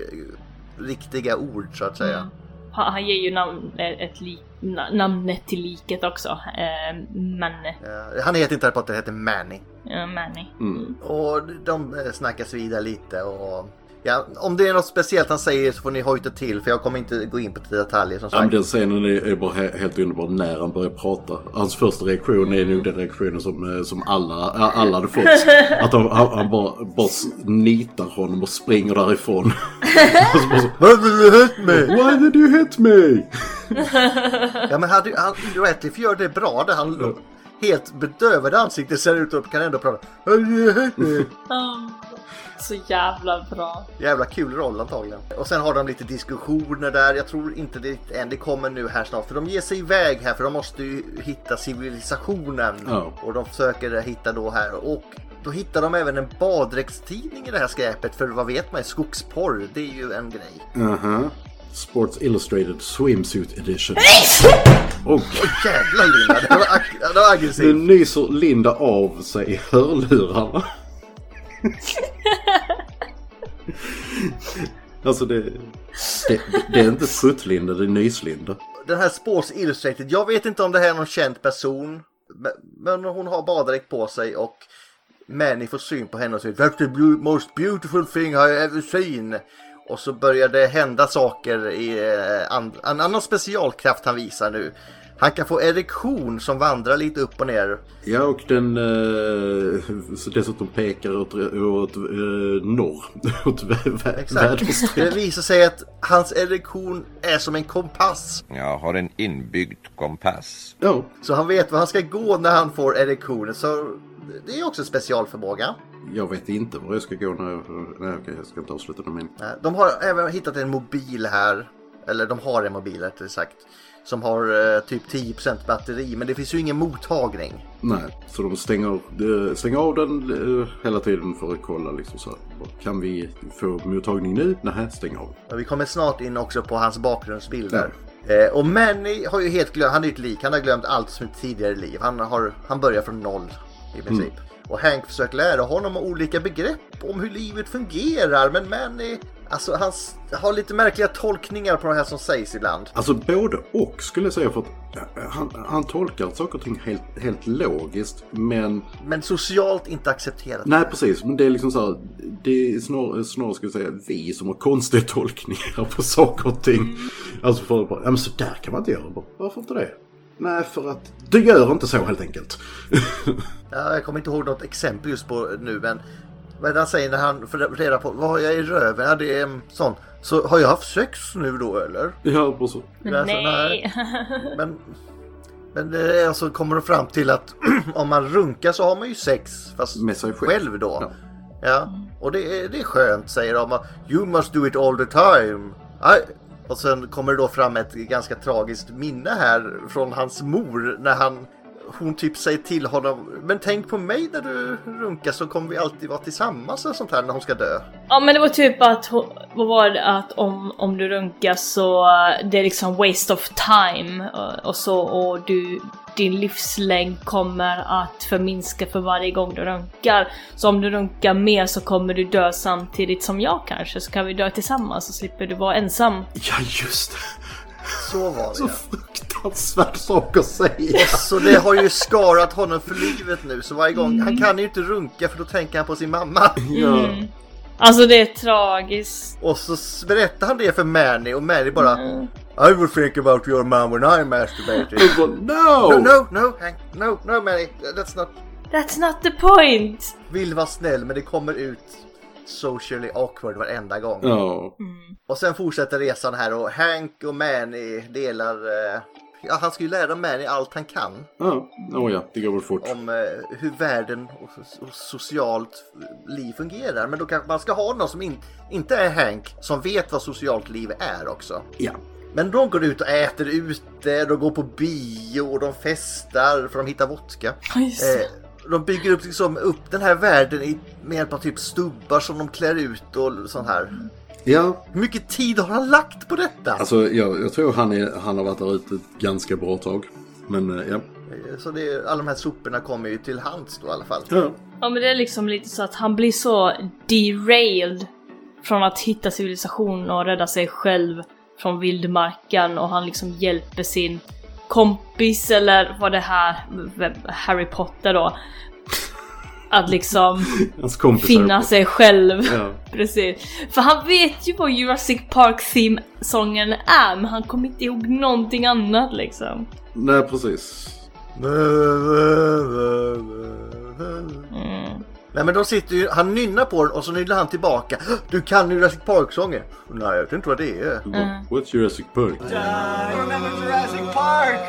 eh, riktiga ord så att säga.
Han, han ger ju namn, eh, ett lik, na, namnet till liket också. Eh, Manny.
Eh, Han heter inte Harry det heter Manny.
Eh, Manny.
Mm.
Och de eh, snackas vidare lite och... Ja, om det är något speciellt han säger så får ni hojta till för jag kommer inte gå in på detaljer som
Ja, men
sagt.
den scenen är, är bara he- helt underbar när han börjar prata. Hans första reaktion är nog den reaktionen som, eh, som alla, ja, alla hade fått. Att han, han, han bara, bara s- nitar honom och springer därifrån. Och så bara så,
Vad vill du hit med?
Why did you hit me?
Ja men hade, han, Ratcliffe gör det bra där han helt bedövade ansikte ser ut och kan ändå prata. Vad vill du hit med?
Ah, Så jävla bra.
Jävla kul roll antagligen. Och sen har de lite diskussioner där. Jag tror inte det än. Det kommer nu här snart. För de ger sig iväg här för de måste ju hitta civilisationen.
Ja.
Och de försöker hitta då här. Och då hittar de även en baddräktstidning i det här skräpet. För vad vet man? Skogsporr, det är ju en grej. Uh-huh.
Aha. Sports Illustrated Swimsuit Edition. Och
Jävlar Linda, det var, ag- det var
nu
aggressivt.
nyser Linda av sig i hörlurarna. Alltså det, det, det är inte pruttlinda, det är nyslinda.
Den här Sports Illustrated. Jag vet inte om det här är någon känd person. men- Men hon har baddräkt på sig och Manny får syn på henne och säger That's the blue- most beautiful thing I ever seen. Och så börjar det hända saker i eh, and- en annan specialkraft han visar nu. Han kan få erektion som vandrar lite upp och ner.
Ja, och den eh, dessutom pekar åt, åt eh, norr, åt vä- vä-
Exakt.
väderstreck.
Det visar sig att hans erektion är som en kompass.
Jag har en inbyggd kompass.
Ja,
Så han vet var han ska gå när han får erektionen. Så det är också en specialförmåga.
jag vet inte var jag ska gå när jag... Nej, okej, jag ska inte avsluta den meningen.
Nej, Eh, De har även hittat en mobil här. Eller de har en mobil rättare sagt. Som har eh, typ 10% batteri men det finns ju ingen mottagning.
Nej, så de stänger, eh, stänger av den eh, hela tiden för att kolla liksom så här. Kan vi få mottagning nu? Nej, stäng av.
Och vi kommer snart in också på hans bakgrundsbilder. Eh, och Manny har ju helt glömt, han är ju ett lik, han har glömt allt som ett tidigare liv. Han, har, han börjar från noll i princip. Och Hank försöker lära honom olika begrepp om hur livet fungerar men Manny, alltså han s- har lite märkliga tolkningar på det här som sägs ibland.
Alltså både och skulle jag säga för att eh, han, han tolkar saker och ting helt, helt logiskt men
Men socialt inte accepterat.
Nej, precis. Men det är liksom så här, det är snarare, snarare ska jag säga vi som har konstiga tolkningar på saker och ting. Alltså folk bara, ja men så där kan man inte göra. Bara, Varför inte det? Nej, för att du gör inte så helt enkelt.
Ja, jag kommer inte ihåg något exempel just på nu men vad är det han säger när han får reda på vad har jag i röven? Ja, det är mm, sån. Så har jag haft sex nu då eller?
ja, bara så.
Det är så,
Nej!
Men, men det är alltså, kommer de fram till att om man runkar så har man ju sex fast
Med sig själv.
själv då. Ja.
Ja.
Och det är, det är skönt säger de. You must do it all the time. I... Och sen kommer det då fram ett ganska tragiskt minne här från hans mor när han hon typ säger till honom Men tänk på mig när du runkar så kommer vi alltid vara tillsammans och sånt här när hon ska dö.
Ja men det var typ att, hon- vad var det, att om, om du runkar så eh, det är liksom waste of time eh, och så och du, din livslängd kommer att förminska för varje gång du runkar. Så om du runkar mer så kommer du dö samtidigt som jag kanske, så kan vi dö tillsammans så slipper du vara ensam.
Ja, just det.
Så var det.
Så
ja.
fruktansvärt. fruktansvärd sak att säga.
Så det har ju skarat honom för livet nu. Så varje gång, han kan ju inte runka för då tänker han på sin mamma.
Ja.
Alltså det är tragiskt.
Och så s- berättar han det för Manny och Manny bara I will think about your mom when I masturbated.
Och bara,
No,
no!
no, no, Hank. No, no, Manny. That's not...
That's not the point!
Vill vara snäll, men det kommer ut socially awkward varenda gång.
Ja.
Och sen fortsätter resan här och Hank och Manny delar... eh, Ja, han ska ju lära Manny allt han kan
Ja. Åh ja, det går väl fort.
om eh, hur världen och, och socialt liv fungerar. Men då kanske man ska ha någon som in, inte är Hank, som vet vad socialt liv är också.
Ja.
Men de går ut och äter ute, de går på bio och de festar för de hittar vodka.
Ja, just det.
Eh, de bygger upp, liksom, upp den här världen i, med hjälp av typ stubbar som de klär ut och sånt här.
Ja,
Hur mycket tid har han lagt på detta?
alltså jag, jag tror han, är, han har varit där ute ett ganska bra tag. Men eh, ja.
Eh, Så det, alla de här soporna kommer ju till hands då i alla fall.
ja.
Ja men det är liksom lite så att han blir så derailed från att hitta civilisationen och rädda sig själv från vildmarken och han liksom hjälper sin kompis eller vad det här, v- Harry Potter då. Att liksom
Hans kompisar.
finna sig själv.
Ja.
Precis. För han vet ju vad Jurassic Park Theme-sången är men han kommer inte ihåg någonting annat liksom.
Nej, precis.
Mm.
Nej men de sitter ju, han nynnar på den och så nynnar han tillbaka. Du kan ju Jurassic Park-sånger. Nej jag vet inte vad det är.
Mm. What's Jurassic Park?
I don't know Jurassic Park.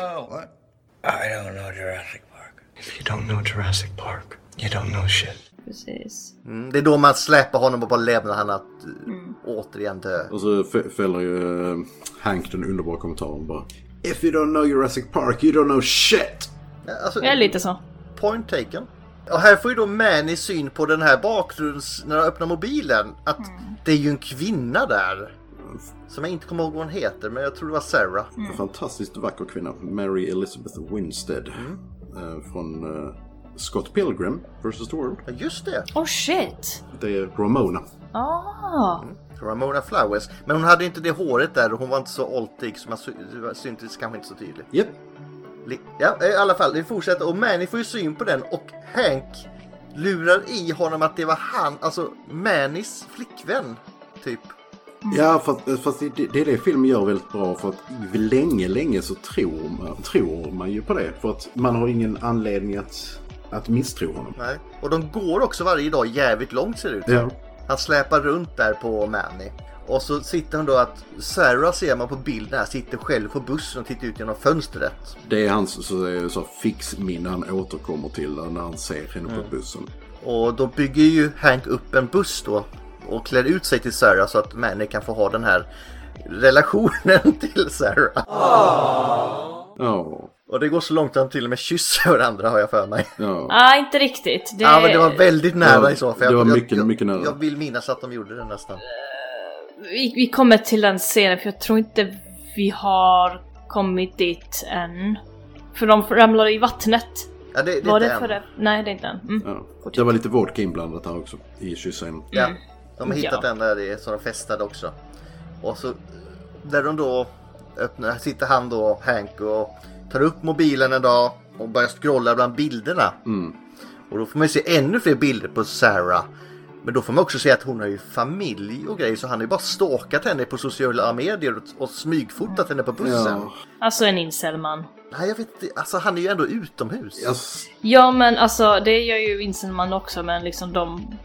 If you don't know Jurassic Park, you don't know shit.
Precis.
Mm, det är då man släpar honom och bara lämnar han att eh,
Mm.
återigen dö.
Och så f- fäller ju eh, Hank den underbara kommentaren bara. If you don't know Jurassic Park, you don't know shit!
Ja, Alltså,
Det är lite så.
Point taken. Och här får ju då Manny syn på den här bakgrunds... När han öppnar mobilen. Att
Mm.
det är ju en kvinna där. Som jag inte kommer ihåg vad hon heter men jag tror det var Sarah.
En fantastiskt vacker kvinna, Mary Elizabeth Winstead. Eh, Från eh, Scott Pilgrim vs. The World.
Ja, just det.
Oh shit!
Det är Ramona.
Ah!
Ramona Flowers. Men hon hade inte det håret där och hon var inte så åltig så man sy- syntes kanske inte så tydligt.
Japp.
Li- Ja, i alla fall, vi fortsätter och Manny får ju syn på den och Hank lurar i honom att det var han, alltså Mannys flickvän, typ.
Ja, fast, eh, fast det, det är det filmen gör väldigt bra för att länge, länge så tror man, tror man ju på det. För att man har ingen anledning att, att misstro honom.
Nej. Och de går också varje dag jävligt långt ser det ut
Ja.
Han släpar runt där på Manny. Och så sitter han då att Sarah ser man på bilden här, sitter själv på bussen och tittar ut genom fönstret.
Det är hans så, så, fixminne han återkommer till när han ser henne på bussen.
Och då bygger ju Hank upp en buss då och klär ut sig till Sarah så att Manny kan få ha den här relationen till Sarah.
Ja.
Och det går så långt att de till och med kysser varandra har jag för mig.
ja.
Ah, inte riktigt. Det...
Ja men det var väldigt nära
Ja,
i så fall.
det var
jag,
mycket,
jag,
mycket nära.
Jag vill minnas att de gjorde det nästan.
vi, vi kommer till den scenen för jag tror inte vi har kommit dit än. För de ramlar i vattnet.
Ja, det, det är
Var
inte
det
än.
för det? Nej, det är inte än. Mm.
Ja. Det var lite vodka inblandat här också i kyssen.
Ja, de har hittat
Ja.
den där det- så de festade också. Och så där de då öppnar, sitter han då, Hank, och tar upp mobilen en dag och börjar scrolla bland bilderna. Och då får man ju se ännu fler bilder på Sarah. Men då får man också se att hon har ju familj och grejer så han har ju bara stalkat henne på sociala medier och, och smygfotat henne på bussen.
Ja.
Alltså en incelman.
Nej jag vet inte, alltså han är ju ändå utomhus.
Yes.
Ja men alltså det gör ju incelman också men liksom de...
Nej,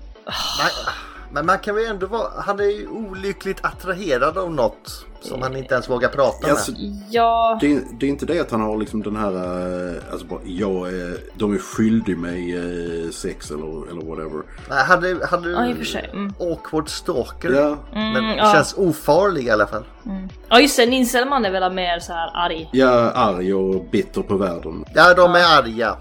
ah. men man kan väl ändå vara, han är ju olyckligt attraherad av något som han inte ens vågar prata med.
Alltså,
Ja...
det, är- det är inte det att han har liksom den här, eh, alltså bara, jag är, de är skyldig mig eh, sex eller, eller whatever.
Nej, han är, han är
Ja, i och för sig. Mm.
awkward stalker.
Ja,
Men
ja.
känns ofarlig i alla fall.
ja just det, en incelman är väl mer så här arg.
jag är arg och bitter på världen.
Ja, de är arga.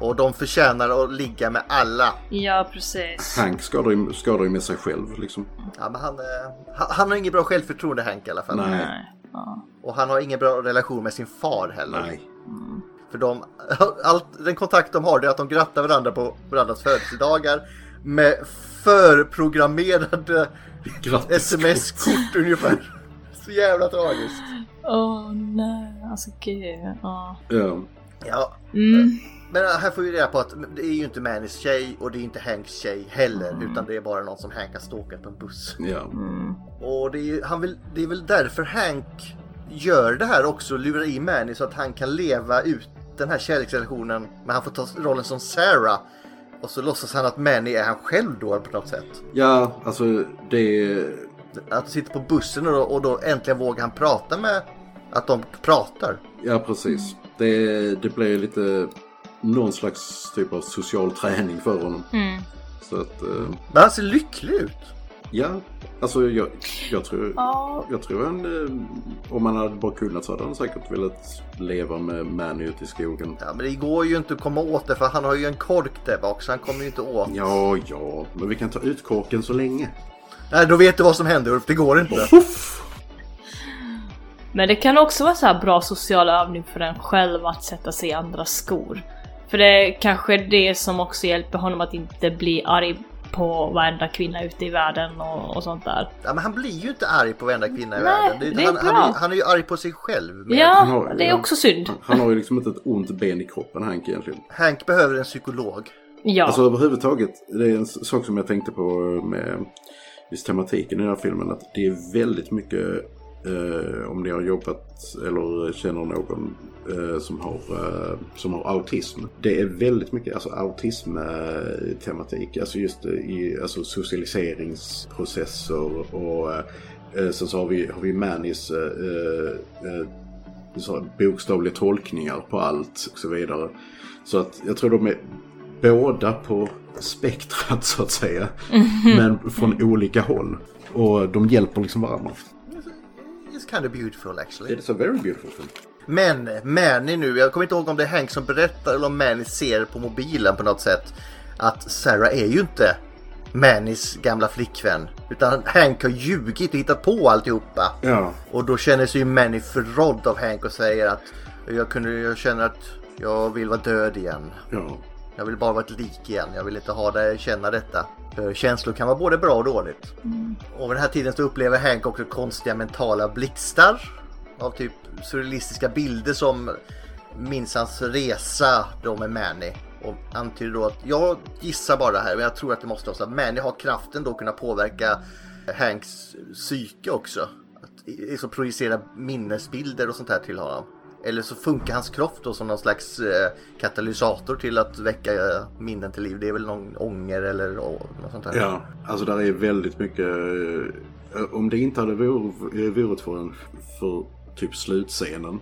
Och de förtjänar att ligga med alla.
Ja precis.
Hank skadar ju, skadar ju med sig själv liksom.
Ja, men han, eh, han, han har inget bra självförtroende Hank i alla fall.
Nej,
Nej. Ja.
Och han har ingen bra relation med sin far heller.
nej.
För de, allt, den kontakt de har det är att de grattar varandra på varandras födelsedagar. Med förprogrammerade
Grattis.
sms-kort ungefär. så jävla tragiskt.
Åh nej, alltså gud. ja.
Ja.
Ja,
Mm.
men äh, här får vi reda på att det är ju inte Mannys tjej och det är inte Hanks tjej heller utan det är bara någon som Hank har stalkat på en buss.
ja.
Och det är, ju- han vill, det är väl därför Hank gör det här också, lurar i Manny så att han kan leva ut den här kärleksrelationen men han får ta rollen som Sarah och så låtsas han att Manny är han själv då på något sätt.
Ja, alltså det...
Att sitta på bussen och då, och då äntligen vågar han prata med att de pratar.
Ja, precis. Det, det blir lite någon slags typ av social träning för honom.
mm.
Så att, eh,
Men han ser lycklig ut.
ja. Alltså jag, jag tror...
Ja,
Jag tror han, eh, om han hade bara kunnat så hade han säkert velat leva med Manny ute i skogen.
Ja, men det går ju inte att komma åt det för han har ju en kork där bak så han kommer ju inte åt.
Ja, ja, men vi kan ta ut korken så länge.
Nej, då vet du vad som händer Ulf, det går inte.
Men det kan också vara så här bra social övning för en själv att sätta sig i andras skor. För det är kanske det som också hjälper honom att inte bli arg på varenda kvinna ute i världen och, och sånt där.
Ja, men han blir ju inte arg på varenda kvinna
Nej,
i världen. Det är-
det är
han,
bra.
han, är, han är ju arg på sig själv. Men
Ja,
har-
det är
ja.
också synd.
Han- Han har ju liksom inte ett ont ben i kroppen, Hank, egentligen.
Hank behöver en psykolog.
Ja.
Alltså överhuvudtaget, det är en s- sak som jag tänkte på eh, med just tematiken i den här filmen. Att det är väldigt mycket, eh, om ni har jobbat eller känner någon eh, som, har, eh, som har autism. Det är väldigt mycket alltså, autism-tematik. Alltså just eh, i alltså, socialiseringsprocesser och eh, sen så har vi, har vi Mannys eh, eh, så här, bokstavliga tolkningar på allt och så vidare. Så att jag tror de är båda på spektrat så att säga. Men från olika håll. Och de hjälper liksom varandra.
It's kind of beautiful actually.
It's a very beautiful film.
Men Manny nu, jag kommer inte ihåg om det är Hank som berättar eller om Manny ser på mobilen på något sätt. Att Sarah är ju inte Mannys gamla flickvän. Utan Hank har ljugit och hittat på alltihopa.
Ja.
Och då känner sig ju Manny förrådd av Hank och säger att jag, kunde, jag känner att jag vill vara död igen.
Ja.
Jag vill bara vara ett lik igen. Jag vill inte ha det, känna detta. För känslor kan vara både bra och dåligt. Och vid den här tiden så upplever Hank också konstiga mentala blixtar. Av typ surrealistiska bilder som minns hans resa då med Manny. Och antyder då att jag gissar bara här men jag tror att det måste vara så att Manny har kraften då att kunna påverka Hanks psyke också. Att i- liksom projicera minnesbilder och sånt här till honom. Eller så funkar hans kropp då som någon slags eh, katalysator till att väcka eh, minnen till liv. Det är väl någon ånger eller å- något sånt där.
Ja. Alltså där är väldigt mycket... eh, Om det inte hade vor- eh, varit för, en, för typ slutscenen.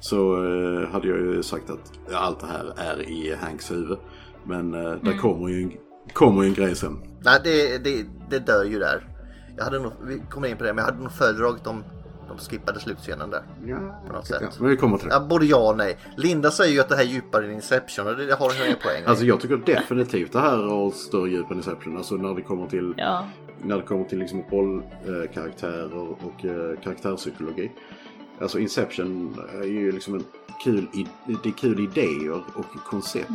Så eh, hade jag ju sagt att allt det här är i Hanks huvud. Men eh, där kommer, ju en, kommer ju en grej sen.
Nej, det, det, det dör ju där. Jag hade nog, vi kommer in på det, men jag hade nog föredragit om de skippade slutscenen där.
Ja,
På något sätt.
men vi kommer till det.
Ja, både ja och nej. Linda säger ju att det här är djupare än Inception och det har hon ju en poäng i.
Alltså jag tycker definitivt det här har större djup än Inception. Alltså när det kommer till,
ja.
när det kommer till liksom rollkaraktärer och eh, karaktärspsykologi. Alltså Inception är ju liksom en kul, i, det är kul idéer och koncept.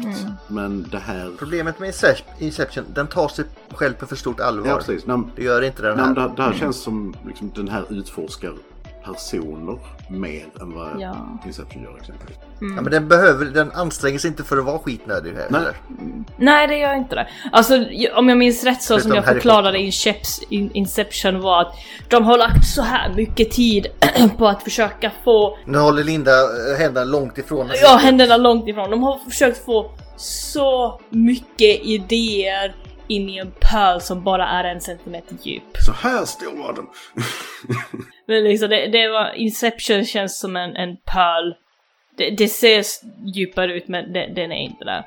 Men det här...
Problemet med Incep- Inception, den tar sig själv på för stort allvar.
Ja, precis. Nej, men-
Det gör inte den
nej, men
här.
det, det här känns som liksom, den här utforskar personer mer än vad
Ja.
Inception gör exempelvis.
Mm.
Ja, men den, behöver, den anstränger sig inte för att vara skitnödig heller.
Nej.
Nej, det gör inte det. Alltså, j- om jag minns rätt så
Förutom
som jag
Harry
förklarade i Inceps- in Inception var att de har lagt så här mycket tid på att försöka få
Nu håller Linda eh, händerna långt ifrån henne.
Ja, händerna långt ifrån. De har försökt få så mycket idéer in i en pöl som bara är en centimeter djup.
Så här stor var den!
Men liksom, det, det var, Inception känns som en, en pöl. Det, det ser s- djupare ut men det, den är inte där.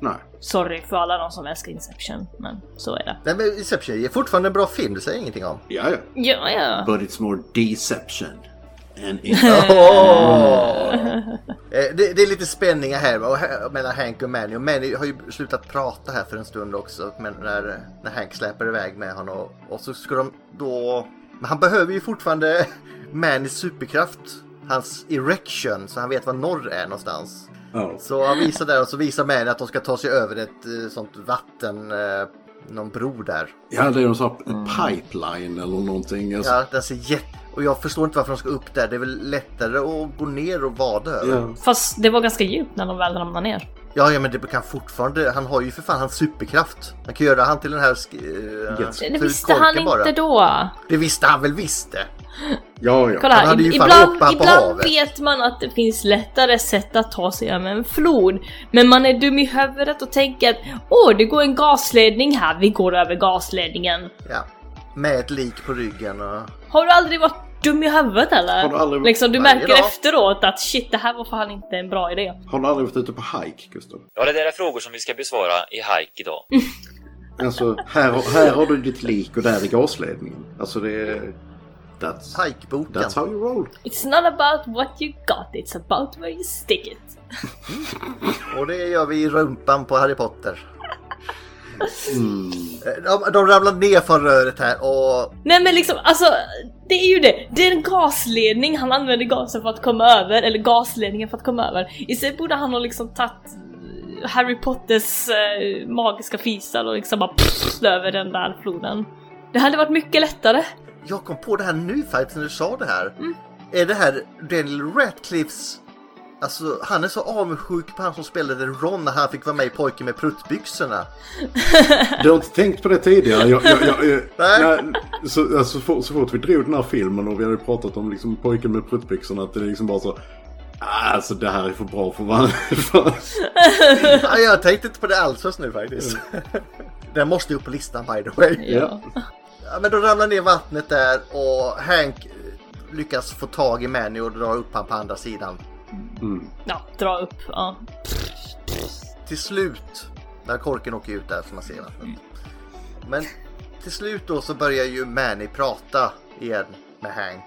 nej.
Sorry för alla de som älskar Inception, men så är det.
Nej, men Inception är fortfarande en bra film, det säger jag ingenting om.
Ja, ja.
Ja, ja.
But it's more deception. And
Åh! Eh, Det, det är lite spänningar här, och här mellan Hank och Manny. Och Manny har ju slutat prata här för en stund också men när, när Hank släpper iväg med honom. Och, och så ska de då... Men han behöver ju fortfarande Mannys superkraft. Hans erection, så han vet var norr är någonstans.
ja.
Så han visar där och så visar Manny att de ska ta sig över ett eh, sånt vatten... Eh, någon bro där.
Ja, det är någon sån här
Mm.
pipeline eller någonting. Alltså.
Ja, den ser jätte... Och jag förstår inte varför de ska upp där. Det är väl lättare att gå ner och vada över.
Ja.
Fast det var ganska djupt när de väl ramlade ner.
Ja, ja, men det kan fortfarande... Han har ju för fan hans superkraft. Han kan göra han till den här... sk- eh,
Jetski.
Det
till
visste han
korken
inte
bara.
då!
Det visste han väl visste!
Ja, ja.
Kolla
Han
här,
hade ju fan
ibland,
hoppat på
ibland
havet.
vet man att det finns lättare sätt att ta sig över en flod. Men man är dum i huvudet och tänker att åh, det går en gasledning här, vi går över gasledningen.
Ja. Med ett lik på ryggen och...
Har du aldrig varit dum i huvudet eller?
Har du aldrig-
liksom, du
Varje
märker
dag.
efteråt att shit, det här var fan inte en bra idé.
Har du aldrig varit ute på hike, Gustav?
Ja, det där är frågor som vi ska besvara i hike idag.
Alltså, här, här har du ditt lik och där är gasledningen. Alltså det är... That's,
Hajkboken.
that's how you roll.
It's not about what you got, it's about where you stick it.
Och det gör vi i rumpan på Harry Potter. Eh, De, de ramlar ner från röret här och...
Nej men liksom, alltså det är ju det. Det är en gasledning, han använder gasen för att komma över, eller gasledningen för att komma över. Istället borde han ha liksom tagit eh, Harry Potters eh, magiska fisar och liksom bara pff, över den där floden. Det hade varit mycket lättare.
Jag kom på det här nu faktiskt när du sa det här.
Mm.
Är det här Daniel Radcliffes... Alltså han är så avundsjuk på han som spelade Ron när han fick vara med i Pojken med pruttbyxorna.
Du har inte tänkt på det tidigare? Jag, jag, jag, jag,
Nej.
när- så, alltså, så, fort, så fort vi drog den här filmen och vi hade pratat om liksom, pojken med pruttbyxorna att det är liksom bara så... "Ah, Alltså det här är för bra för vad... för-
Ja, jag tänkte inte på det alls nu faktiskt. Den måste ju upp på listan by the way.
Ja.
Ja, men de ramlar ner i vattnet där och Hank eh, lyckas få tag i Manny och drar upp han på andra sidan.
Ja, dra upp. Ja.
Till slut, när korken åker ut där som man ser i vattnet. Men till slut då så börjar ju Manny prata igen med Hank.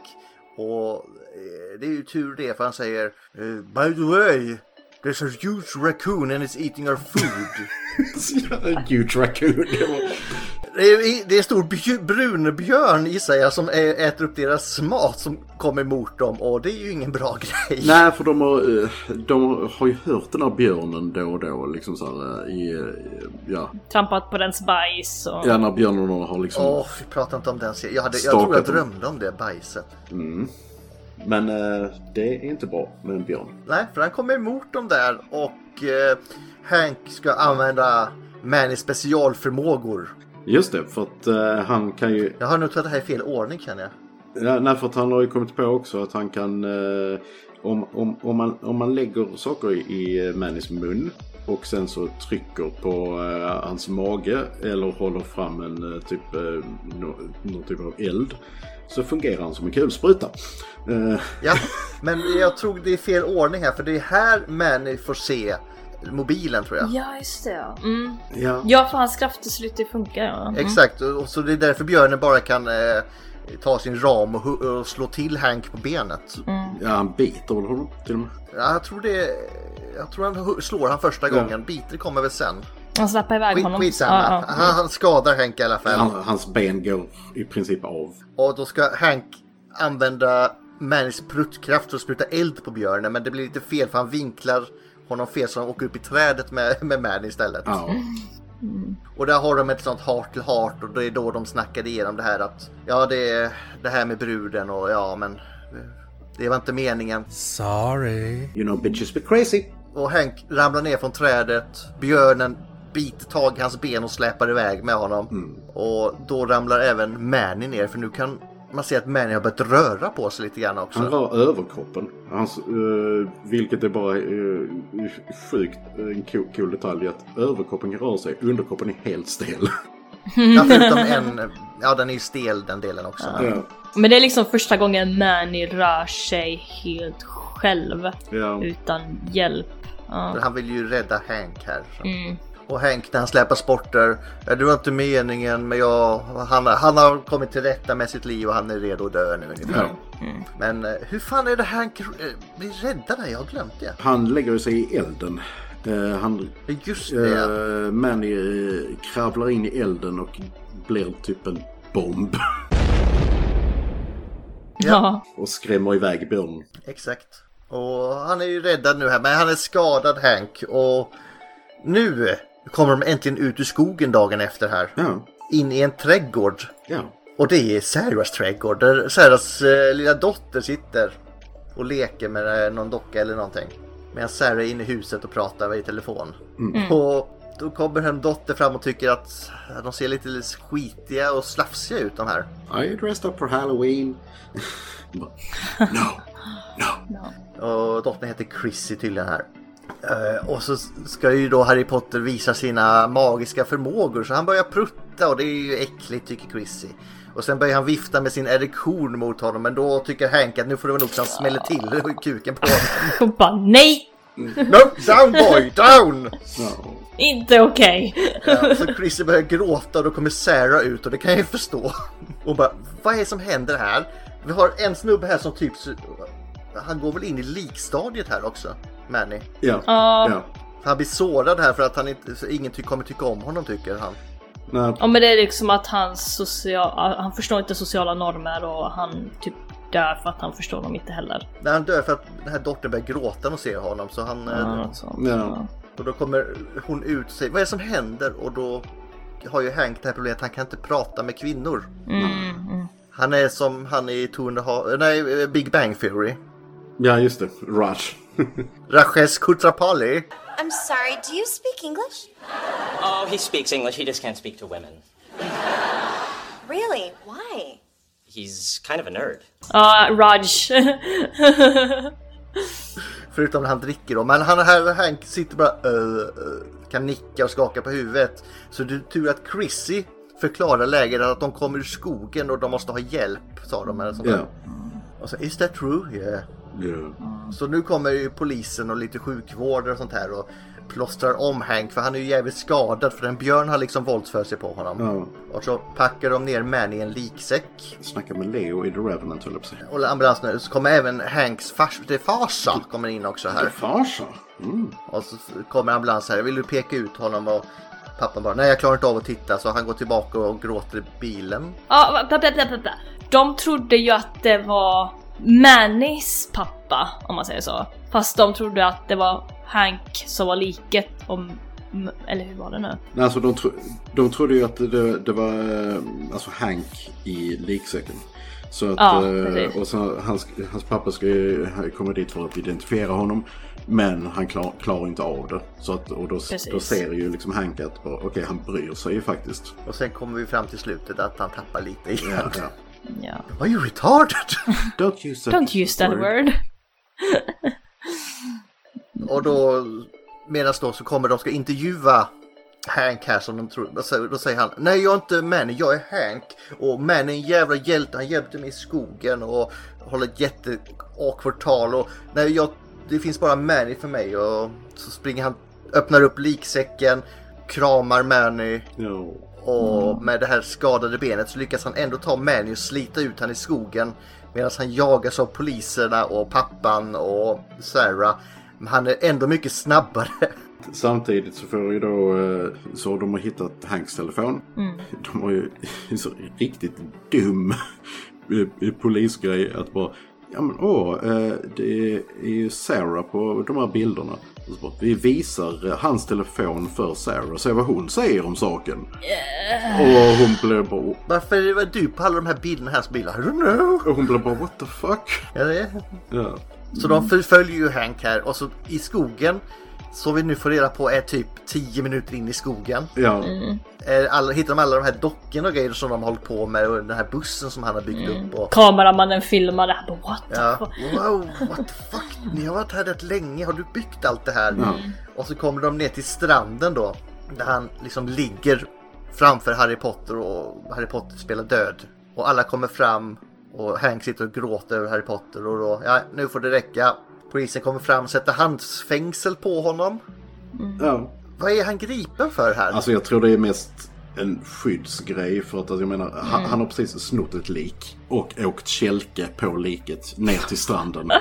Och eh, det är ju tur det för han säger eh, By the way, there's a huge raccoon and it's eating our food.
Huge raccoon. Det var-
Det är, det är en stor bjö- brunbjörn gissar jag som ä- äter upp deras mat som kommer mot dem och det är ju ingen bra grej.
Nej, för de har, eh, de har ju hört den här björnen då och då. Liksom så här, eh, i, eh, ja.
Trampat på dens bajs och...
ja, när björnarna har liksom...
Åh, vi pratar inte om den serien. Jag, hade, jag tror jag
Stakat dem.
drömde om det bajset.
Men eh, det är inte bra med en björn.
Nej, för han kommer emot dem där och eh, Hank ska använda Mannys specialförmågor.
Just det, för att eh, han kan ju...
Jag har nog tagit det här i fel ordning känner jag.
Ja, nej, för att han har ju kommit på också att han kan... Eh, om, om, om, man, om man lägger saker i, i eh, Mannys mun och sen så trycker på eh, hans mage eller håller fram en eh, typ, eh, nå- någon typ av eld så fungerar han som en kulspruta. Eh,
Ja, men jag tror det är fel ordning här för det är här Manny får se mobilen tror jag.
Ja, just det ja. Mm.
ja.
Ja, för hans krafter slutar ju funka ja. Mm.
Exakt, och och så det är därför björnen bara kan eh, ta sin ram och, hu- och slå till Hank på benet.
Mm.
ja, han biter väl honom till och med.
Ja, jag tror det... Jag tror han hu- slår han första gången, biter kommer väl sen.
Han släpper iväg
Skit,
honom.
skitsamma,
Ja, ja.
Han, han skadar Hank i alla fall.
Han, hans ben går i princip av.
Och då ska Hank använda Mannys pruttkraft för att spruta eld på björnen, men det blir lite fel för han vinklar honom fel så han åker upp i trädet med, med Manny istället.
Ja.
Och där har de ett sånt heart till heart och det är då de snackade igenom det här att ja det är det här med bruden och ja men eh, det var inte meningen.
Sorry.
You know bitches be crazy.
Och Hank ramlar ner från trädet. Björnen biter tag i hans ben och släpar iväg med honom. Och då ramlar även Manny ner för nu kan man se att Manny har börjat röra på sig lite grann också.
Han rör överkroppen. Hans, eh, vilket är bara eh, sjukt en cool, cool detalj att överkroppen rör sig, underkroppen är helt stel.
Ja, förutom en, ja den är ju stel den delen också.
ja.
Men det är liksom första gången Manny rör sig helt själv.
Ja.
Utan hjälp. Ja.
Men Han vill ju rädda Hank här. så.
Mm.
Och Hank när han släpas bort där. "Ja, Det var inte meningen men jag, han, han har kommit till rätta med sitt liv och han är redo att dö nu ungefär.
Ja.
Men eh, hur fan är det Hank eh, blir räddad? här? Jag har glömt det.
Han lägger sig i elden. Eh, han,
Just det.
uh, Manny eh, kravlar in i elden och blir typ en bomb.
Ja.
och skrämmer iväg björnen.
Exakt. Och han är ju räddad nu här, men han är skadad Hank. Och nu Nu kommer de äntligen ut ur skogen dagen efter här.
Ja,
In i en trädgård.
ja.
Och det är Sarahs trädgård där Sarahs eh, lilla dotter sitter och leker med eh, någon docka eller någonting. Medan Sarah är inne i huset och pratar i telefon. Och då kommer hennes dotter fram och tycker att de ser lite skitiga och slafsiga ut de här.
Are you dressed up for Halloween? Bara, no, no.
Och dottern heter Chrissy tydligen här. Eh, och så ska ju då Harry Potter visa sina magiska förmågor så han börjar prutta och det är ju äckligt tycker Chrissy. Och sen börjar han vifta med sin erektion mot honom men då tycker Hank att nu får det vara nog så han smäller till kuken på honom.
Och bara nej!
Nope, down boy, down!
no.
Inte okej!
Ja, så Chrissy börjar gråta och då kommer Sarah ut och det kan jag ju förstå. Och bara, vad är det som händer här? Vi har en snubbe här som typ... Han går väl in i likstadiet här också, Manny?
Ja,
Ja.
ja.
Han blir sårad här för att han inte, så ingen ty- kommer tycka om honom tycker han.
Nej,
Ja men det är liksom att han, social, han förstår inte sociala normer och han typ dör för att han förstår dem inte heller.
När han dör för att den här dottern börjar gråta när hon ser honom så han... eh,
Ja, något sånt.
Ja.
Och då kommer hon ut och säger vad är det som händer? Och då har ju Hank det här problemet att han kan inte prata med kvinnor.
Mm, mm.
Han är som han i 200 ha- nej, eh, Big Bang Theory.
ja just det. Rush.
Rajesh Kutrapali.
I'm sorry, do you speak English?
Oh, he speaks English. He just can't speak to women.
Really? Why?
He's kind of a nerd.
Ja, Raj.
Förutom när han dricker då. Men han här, Hank sitter bara eh, eh, kan nicka och skaka på huvudet. Så det är tur att Chrissy förklarar läget att de kommer ur skogen och de måste ha hjälp sa de eller sånt där.
Ja.
Och så, is that true? Yeah.
ja.
Så nu kommer ju polisen och lite sjukvård och sånt här och plåstrar om Hank för han är ju jävligt skadad för en björn har liksom våldsfört sig på honom.
Ja.
Och så packar de ner Manny i en liksäck.
Oh, Snacka med Leo i The Revenant höll jag på att säga.
Och ambulansen så kommer även Hanks fars, det är farsa kommer in också här.
Farsa? Mm.
Och så kommer ambulansen här. Vill du peka ut honom? Och pappan bara nej jag klarar inte av att titta så han går tillbaka och gråter i bilen.
Ja, bla, bla, bla, bla, bla. De trodde ju att det var Mannys pappa, om man säger så. Fast de trodde att det var Hank som var liket om... m- Eller hur var det nu?
Nej, Alltså, de, tro, de trodde ju att det, det var eh, alltså, Hank i liksäcken. Så att,
Ja,
eh,
precis.
och så, hans, hans pappa ska ju han kommer dit för att identifiera honom. Men han klar, klarar inte av det. Så att, och då,
Precis.
då ser ju liksom Hank att bara, okej han bryr sig ju faktiskt.
Och sen kommer vi fram till slutet att han tappar lite igen.
Ja, ja.
Ja.
Are you retarded?
Don't use that,
Don't use that word.
Och då, medan då så kommer de ska intervjua Hank här som de tror. Då säger, då säger han, nej jag är inte Manny, jag är Hank. Och Manny är en jävla hjälte, han hjälpte mig i skogen och håller ett jätte awkward tal. Och nej, jag, det finns bara Manny för mig. Och så springer han, öppnar upp liksäcken, kramar Manny.
Ja.
Och med det här skadade benet så lyckas han ändå ta Manny och slita ut han i skogen. Medan han jagas av poliserna och pappan och Sarah. Men han är ändå mycket snabbare.
Samtidigt så får ju då, eh, så de har hittat Hanks telefon. De har ju en så riktigt dum eh, eh, polisgrej att bara, ja men åh, eh, det är ju Sarah på de här bilderna. Och så bara, Vi visar eh, hans telefon för Sarah, se vad hon säger om saken. Och hon blev bara,
Varför var du på alla de här bilderna här som bilar? I don't know.
och hon blev bara what the fuck?
Ja, det är-
Ja.
Så de förföljer ju Hank här och så i skogen. Så vi nu får reda på är typ 10 minuter in i skogen.
Ja,
Är Alla, hittar de alla de här dockorna och grejer som de har hållit på med och den här bussen som han har byggt upp. Och,
Kameramannen filmar det här på what the
Ja.
fuck?
Wow, what the fuck? Ni har varit här rätt länge. Har du byggt allt det här?
Ja.
Och så kommer de ner till stranden då. Där han liksom ligger framför Harry Potter och Harry Potter spelar död. Och alla kommer fram och Hank sitter och gråter över Harry Potter och då, ja nu får det räcka. Polisen kommer fram och sätter handfängsel på honom.
ja.
Vad är han gripen för här?
Alltså jag tror det är mest en skyddsgrej för att alltså, jag menar, han, han har precis snott ett lik och åkt kälke på liket ner till stranden.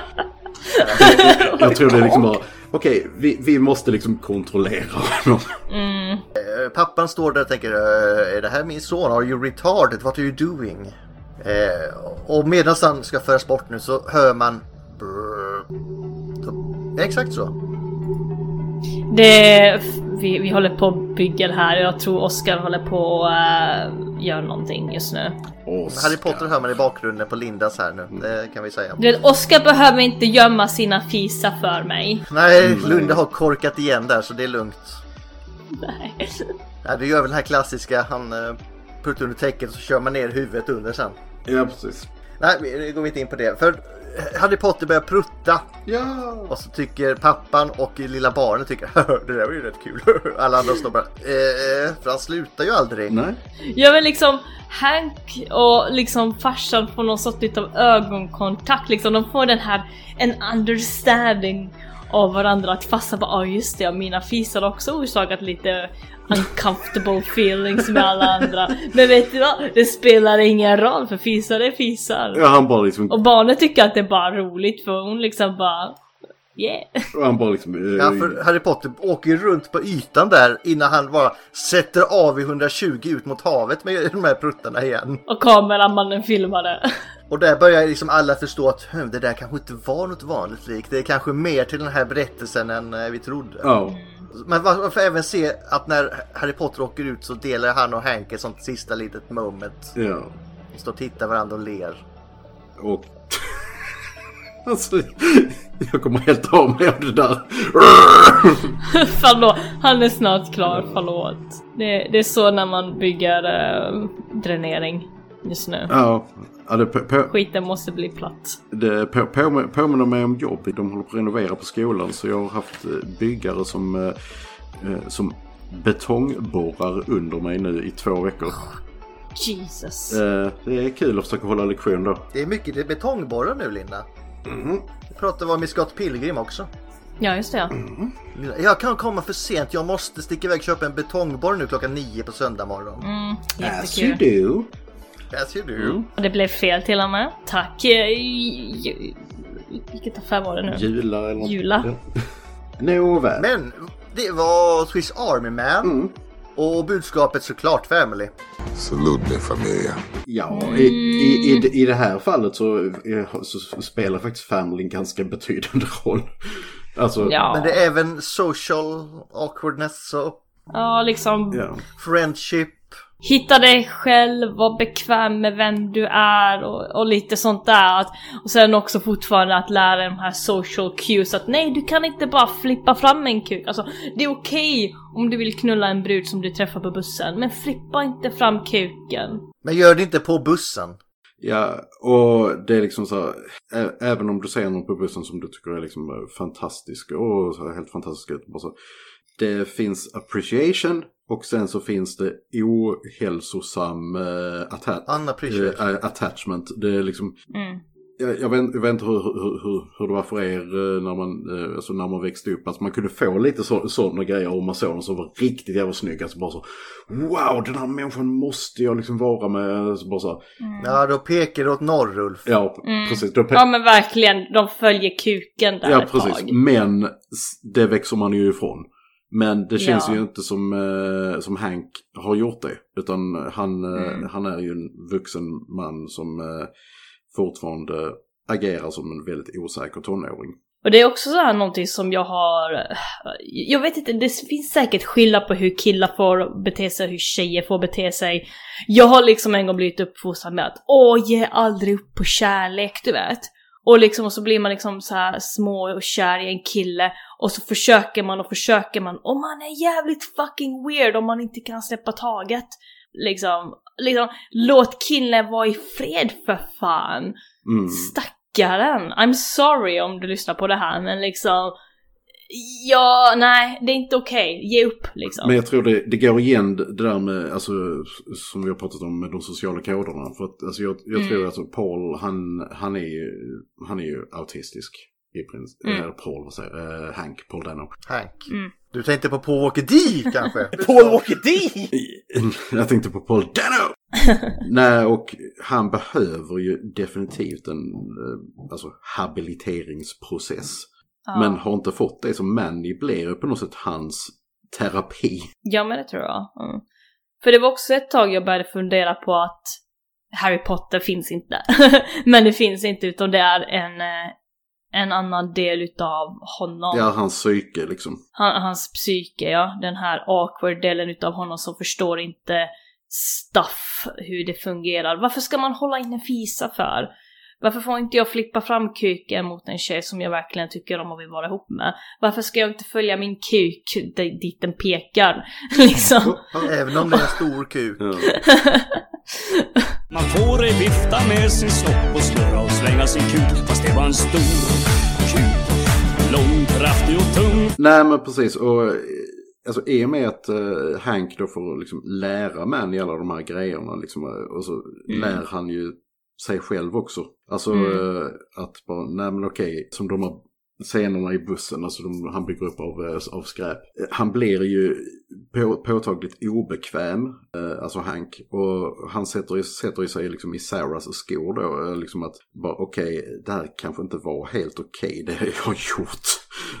jag tror det är liksom bara, okej vi, vi måste liksom kontrollera honom.
Eh, Pappan står där och tänker "Eh, är det här min son? Are you retarded? What are you doing? Eh, och medan han ska föras bort nu så hör man brrr. så, Exakt så.
Det är f- Vi, vi håller på och bygger här och jag tror Oskar håller på att uh, göra någonting just nu.
Oscar.
Harry Potter hör man i bakgrunden på Lindas här nu, det kan vi säga.
Du vet, Oskar behöver inte gömma sina fisar för mig.
Nej, Lunde har korkat igen där så det är lugnt.
Nej.
Ja, du gör väl den här klassiska, han eh, puttar under täcket och så kör man ner huvudet under sen.
Ja, precis.
Nej, vi- vi går inte in på det. För Harry Potter börjar prutta
Ja!
och så tycker pappan och lilla barnet tycker det där var ju rätt kul. Alla andra står bara eh, för han slutar ju aldrig.
Nej.
Jag vill liksom Hank och liksom farsan får någon sorts utav ögonkontakt liksom. De får den här en understanding av varandra att farsan bara ah just det, mina fisar har också orsakat lite uncomfortable feelings med alla andra. Men vet du vad? Det spelar ingen roll för fisar är fisar.
Ja, han bara liksom...
Och barnet tycker att det är bara roligt för hon liksom bara yeah.
Han bara liksom... eh,
Ja, för Harry Potter åker ju runt på ytan där innan han bara sätter av i 120 ut mot havet med de här pruttarna igen.
Och kameramannen filmade.
Och där börjar liksom alla förstå att "Hm, det där kanske inte var något vanligt lik. Det är kanske mer till den här berättelsen än eh, vi trodde.
Ja.
Men man man får även se att när Harry Potter åker ut så delar han och Hank ett sånt sista litet moment.
Ja.
De står och tittar varandra och ler.
Och... alltså, jag kommer helt av mig av det där.
Förlåt, han är snart klar, förlåt. Det, det är så när man bygger eh, dränering just nu.
ja. ja det, på, på,
Skiten måste bli platt.
det på, på, påminner mig om jobb. De håller på att renovera på skolan så jag har haft eh, byggare som, eh, eh, som betongborrar under mig nu i två veckor.
Jesus.
Eh, Det är kul att försöka hålla lektion då.
Det är mycket det är betongborrar nu Linda.
Mm-hmm.
Vi pratade om i Scott Pilgrim också.
Ja, just det. ja.
Mm.
Jag kan komma för sent. Jag måste sticka iväg och köpa en betongborr nu klockan nio på söndag morgon.
Mm,
As you
jättekul.
do.
As you do.
Och Det blev fel till och med. Tack. eh, ju- Vilket affär var det nu?
Jula eller något.
Jula.
Ja. Nåväl.
Men det var Swiss Army Man.
Mm.
Och budskapet såklart Family.
Salute me familia.
Ja, i,
Mm.
i, i, det- i det här fallet så, eh, så spelar faktiskt familjen ganska betydande roll. Alltså,
Ja,
Men det är även social awkwardness och
ja liksom
ja.
friendship.
hitta dig själv, var bekväm med vem du är och, och lite sånt där. Att, och sen också fortfarande att lära dig de här social cues att nej, du kan inte bara flippa fram en kuk. Alltså, det är okej om du vill knulla en brud som du träffar på bussen, men flippa inte fram kuken.
Men gör det inte på bussen.
ja, och det är liksom så här, ä- även om du ser någon på bussen som du tycker är liksom eh, fantastisk och så här, helt fantastisk ut, bara så, det finns appreciation och sen så finns det ohälsosam eh, atta-
Unappreciated.
eh, attachment. Det är liksom,
Mm.
Jag, jag, vet, jag vet inte hur, hur, hur, hur det var för er eh, när man, eh, alltså när man växte upp. Alltså man kunde få lite så, sådana grejer om man såg någon som var riktigt jävla snygg. Alltså bara så Wow, den här människan måste jag liksom vara med. Så bara så, här,
Mm.
Ja, då pekar det åt norr Ulf.
ja, precis. Då,
Ja men verkligen, de följer kuken där
ja,
ett
precis.
tag.
Men s- det växer man ju ifrån. Men det känns
Ja.
ju inte som, eh, som Hank har gjort det. Utan han, eh,
Mm.
han är ju en vuxen man som eh, fortfarande agerar som en väldigt osäker tonåring.
Och det är också så här någonting som jag har... Jag vet inte, det finns säkert skillnad på hur killar får bete sig och hur tjejer får bete sig. Jag har liksom en gång blivit uppfostrad med att åh, ge aldrig upp på kärlek, du vet. Och liksom och så blir man liksom så här små och kär i en kille och så försöker man och försöker man och man är jävligt fucking weird om man inte kan släppa taget. Liksom, liksom låt killen vara i fred för fan.
Mm.
Stackaren! I'm sorry om du lyssnar på det här men liksom... Ja, nej, det är inte okej. Ge upp liksom.
Men jag tror det, det går igen det där med, alltså, som vi har pratat om, med de sociala koderna. För att, alltså, jag, jag
Mm.
tror att alltså, Paul, han, han, är ju, han är ju autistisk. I princip.
Mm.
Eh, Paul, vad säger jag? Eh, Hank, Paul Dano.
Hank.
Mm.
Du tänkte på Paul Walker D kanske?
Walker D! jag tänkte på Paul Dano! Nej, och han behöver ju definitivt en eh, alltså, habiliteringsprocess.
ja.
Men har inte fått det, så Manny blir ju på något sätt hans terapi.
ja, men det tror jag. Mm. För det var också ett tag jag började fundera på att Harry Potter finns inte. men det finns inte utan det är en, eh, en annan del utav honom.
Ja, hans psyke liksom.
Han, hans psyke, ja. Den här awkward delen utav honom som förstår inte stuff, hur det fungerar. Varför ska man hålla in en fisa för? Varför får inte jag flippa fram kuken mot en tjej som jag verkligen tycker om och vill vara ihop med? Varför ska jag inte följa min kuk di- dit den pekar? liksom.
Även om det är en stor kuk.
Ja.
Man får ej vifta med sin snopp och snurra och slänga sin kuk Fast det var en stor kuk Lång, kraftig och tung
Nej, men precis. Och eh, alltså, i och med att eh, Hank då får liksom, lära man i alla de här grejerna, liksom, eh, och så lär han ju sig själv också. Alltså
Mm.
eh, att bara, nej men okej, som de här scenerna i bussen, alltså de, han bygger upp av, eh, av skräp. Eh, Han blir ju på, påtagligt obekväm, eh, alltså Hank, och han sätter, ju- sätter ju sig liksom i Sarahs skor då, eh, liksom att bara okej, det här kanske inte var helt okej det jag har gjort.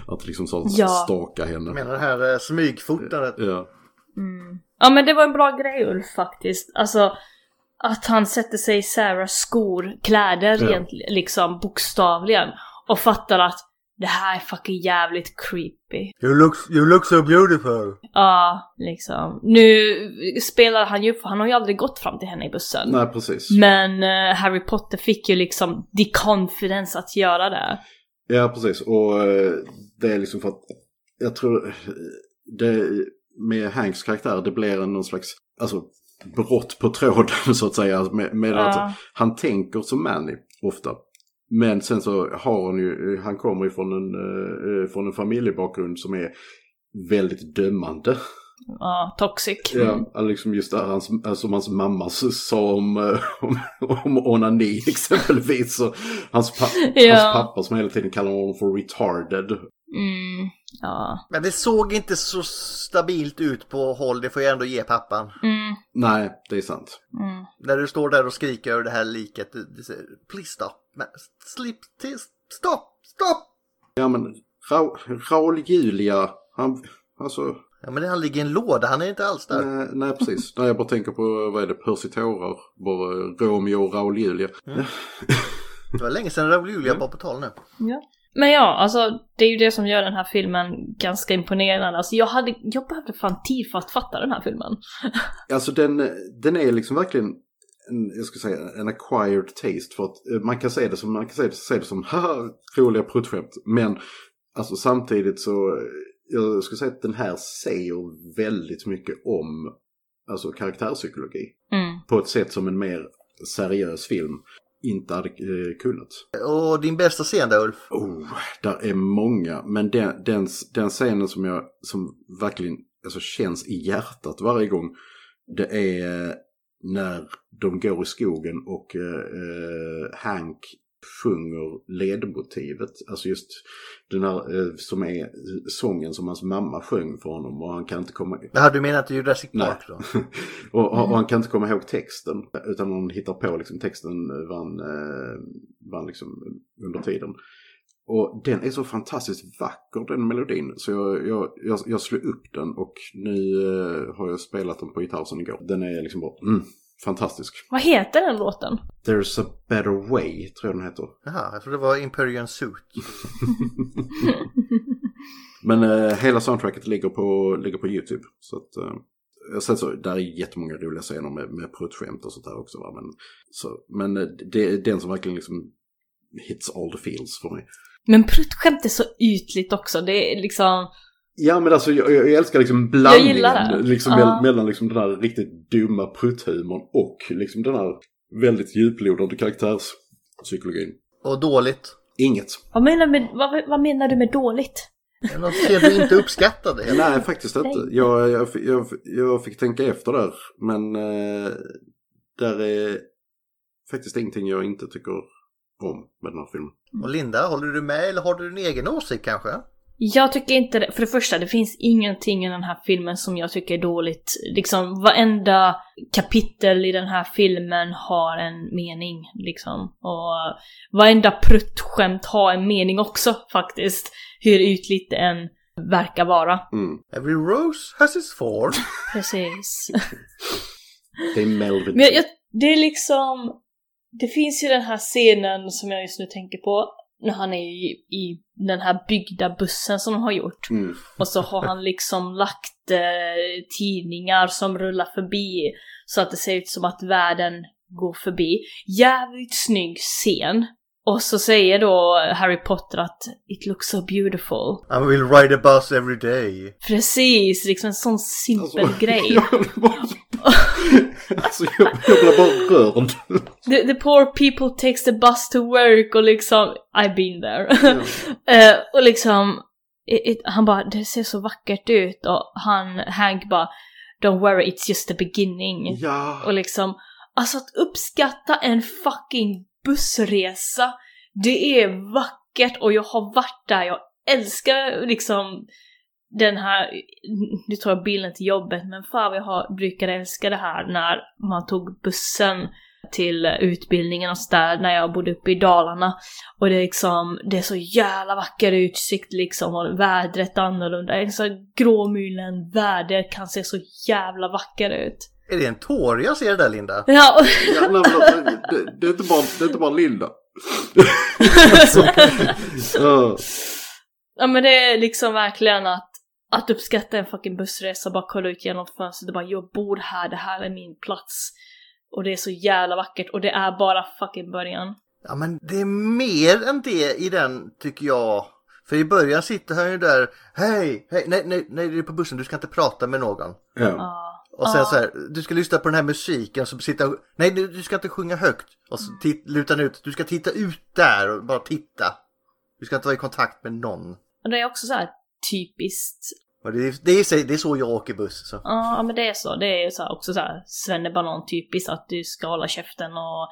Att liksom så
Ja.
staka henne.
Jag menar det här eh, smygfotandet.
Ja.
Ja men det var en bra grej Ulf faktiskt. Alltså att han sätter sig i Sarahs skor, kläder
Ja.
egentligen, liksom bokstavligen. Och fattar att det här är fucking jävligt creepy.
You look, you look so beautiful.
Ja, liksom. Nu spelar han ju, för han har ju aldrig gått fram till henne i bussen.
Nej, precis.
Men eh, Harry Potter fick ju liksom the confidence att göra det.
Ja, precis. Och eh, det är liksom för att jag tror eh, det med Hanks karaktär, det blir en någon slags alltså, brott på tråden så att säga. Alltså, Med, med
Ja.
att han tänker som Manny ofta. Men sen så har han ju, han kommer ju från en, eh, från en familjebakgrund som är väldigt dömande.
Ja, toxic. Mm.
Ja, alltså liksom just det här hans, alltså hans mamma sa om, eh, om, om onani exempelvis. Så hans, pa,
Ja.
hans pappa som hela tiden kallar honom för retarded.
Mm, ja.
Men det såg inte så stabilt ut på håll, det får jag ändå ge pappan.
Mm,
Nej, det är sant.
mm.
När du står där och skriker över det här liket, du, du säger please stop. Men, slip, till, stopp, stopp!
Ja, men Ra Raul Julia, han... Alltså,
Ja men han ligger i en låda, han är inte alls där.
nej, nej precis. Nej, jag bara tänker på, vad är det, Percy Tårar? Bara Romeo och Raul Julia.
Det var länge sedan Raoul Julia var på tal nu.
Men ja, alltså det är ju det som gör den här filmen ganska imponerande. Alltså jag, hade, jag behövde fan tid för att fatta den här filmen.
Alltså den, den är liksom verkligen en, jag skulle säga, en acquired taste. För att eh, man kan säga det som, man kan säga det, säga det som haha, roliga pruttskämt. Men alltså samtidigt så, eh, jag skulle säga att den här säger väldigt mycket om alltså karaktärpsykologi.
Mm.
På ett sätt som en mer seriös film inte hade eh, kunnat.
Och din bästa scen där Ulf?
Oh, där är många. Men den, den, den scenen som jag som verkligen alltså, känns i hjärtat varje gång. Det är eh, när de går i skogen och eh, Hank sjunger ledmotivet. Alltså just den här eh, som är sången som hans mamma sjöng för honom och han kan inte komma
Jaha, du menar inte Jurassic
Nej.
Park då?
och, och, och han kan inte komma ihåg texten. Utan hon hittar på liksom, texten eh, vann, eh, vann liksom, eh, under tiden. Och den är så fantastiskt vacker den melodin. Så jag, jag, jag, jag slog upp den och nu eh, har jag spelat den på gitarr sedan igår. Den är liksom bara mm, fantastisk.
Vad heter den låten?
There's a better way tror jag den heter.
Jaha, jag trodde det var Imperial Suit.
Men eh, hela soundtracket ligger på, ligger på YouTube. Så att, eh, sen så, där är jättemånga roliga scener med, med pruttskämt och sånt där också. Va? Men, så, men eh, det är den som verkligen liksom hits all the feels för mig.
Men pruttskämt är så ytligt också. Det är liksom...
Ja men alltså jag, jag jag älskar liksom blandningen.
Jag gillar det.
Liksom,
Ja.
mell- Mellan liksom den här riktigt dumma prutthumorn och liksom den här väldigt djuplodande karaktärspsykologin.
Och dåligt.
Inget.
Vad menar, med, vad, vad menar du med dåligt?
Är det Någon scen du inte uppskattade? eller?
Eh, Nej, faktiskt inte. Jag, jag, jag, jag fick tänka efter där. Men eh, där är faktiskt ingenting jag inte tycker om med den här filmen.
Och Linda, håller du med eller har du din egen åsikt kanske?
Jag tycker inte det. För det första, det finns ingenting i den här filmen som jag tycker är dåligt. Liksom varenda kapitel i den här filmen har en mening liksom. Och varenda pruttskämt har en mening också faktiskt. Hur ytligt det än verkar vara.
Mm.
Every rose has its thorn.
Precis.
Det är Melvin.
Men jag, jag, det är liksom... Det finns ju den här scenen som jag just nu tänker på när han är i, i den här byggda bussen som de har gjort.
Mm.
Och så har han liksom lagt eh, tidningar som rullar förbi så att det ser ut som att världen går förbi. Jävligt snygg scen. Och så säger då Harry Potter att “It looks so beautiful”.
I will ride a bus every day.
Precis, liksom en sån simpel grej.
Alltså, Jag blir bara... alltså jag, jag blir bara rörd.
The, the poor people takes the bus to work och liksom, I've been there. Eh, och liksom, it, it, han bara, det ser så vackert ut och han, Hank bara, don't worry it's just the beginning.
Ja.
Och liksom, alltså att uppskatta en fucking bussresa, det är vackert och jag har varit där, jag älskar liksom den här, nu tar jag bilden till jobbet, men fan vad jag har, brukar älska det här när man tog bussen till utbildningen och sådär när jag bodde uppe i Dalarna. Och det är liksom, det är så jävla vacker utsikt liksom och vädret är annorlunda. Liksom, Gråmulen, väder kan se så jävla vacker ut.
Är det en tår jag ser där Linda?
Ja, och
Ja, nej, men alltså, det, det, är inte bara, det är inte bara Linda. Ja.
Ja men det är liksom verkligen att, att uppskatta en fucking bussresa, bara kolla ut genom fönstret och bara jag bor här, det här är min plats. Och det är så jävla vackert och det är bara fucking början.
Ja men det är mer än det i den tycker jag. För i början sitter han ju där, hej, hej, nej, nej, nej, det är på bussen, du ska inte prata med någon.
Ja.
Och sen
Ja.
så här, du ska lyssna på den här musiken, så sitter han, nej du, du ska inte sjunga högt. Och så tit, lutar han ut, du ska titta ut där och bara titta. Du ska inte vara i kontakt med någon.
Och det är också så här typiskt
Och det, är- det, är, i sig- det är så jag åker buss. Så.
Ja, ja, men det är så. Det är så här, också så här svennebanan typiskt att du ska hålla käften och...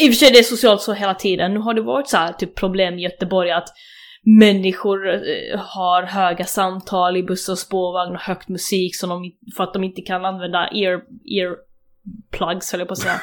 I och för sig det är socialt så hela tiden. Nu har det varit så här typ problem i Göteborg att människor eh, har höga samtal i bussar och spårvagn och högt musik som de, för att de inte kan använda ear, earplugs höll jag på att säga.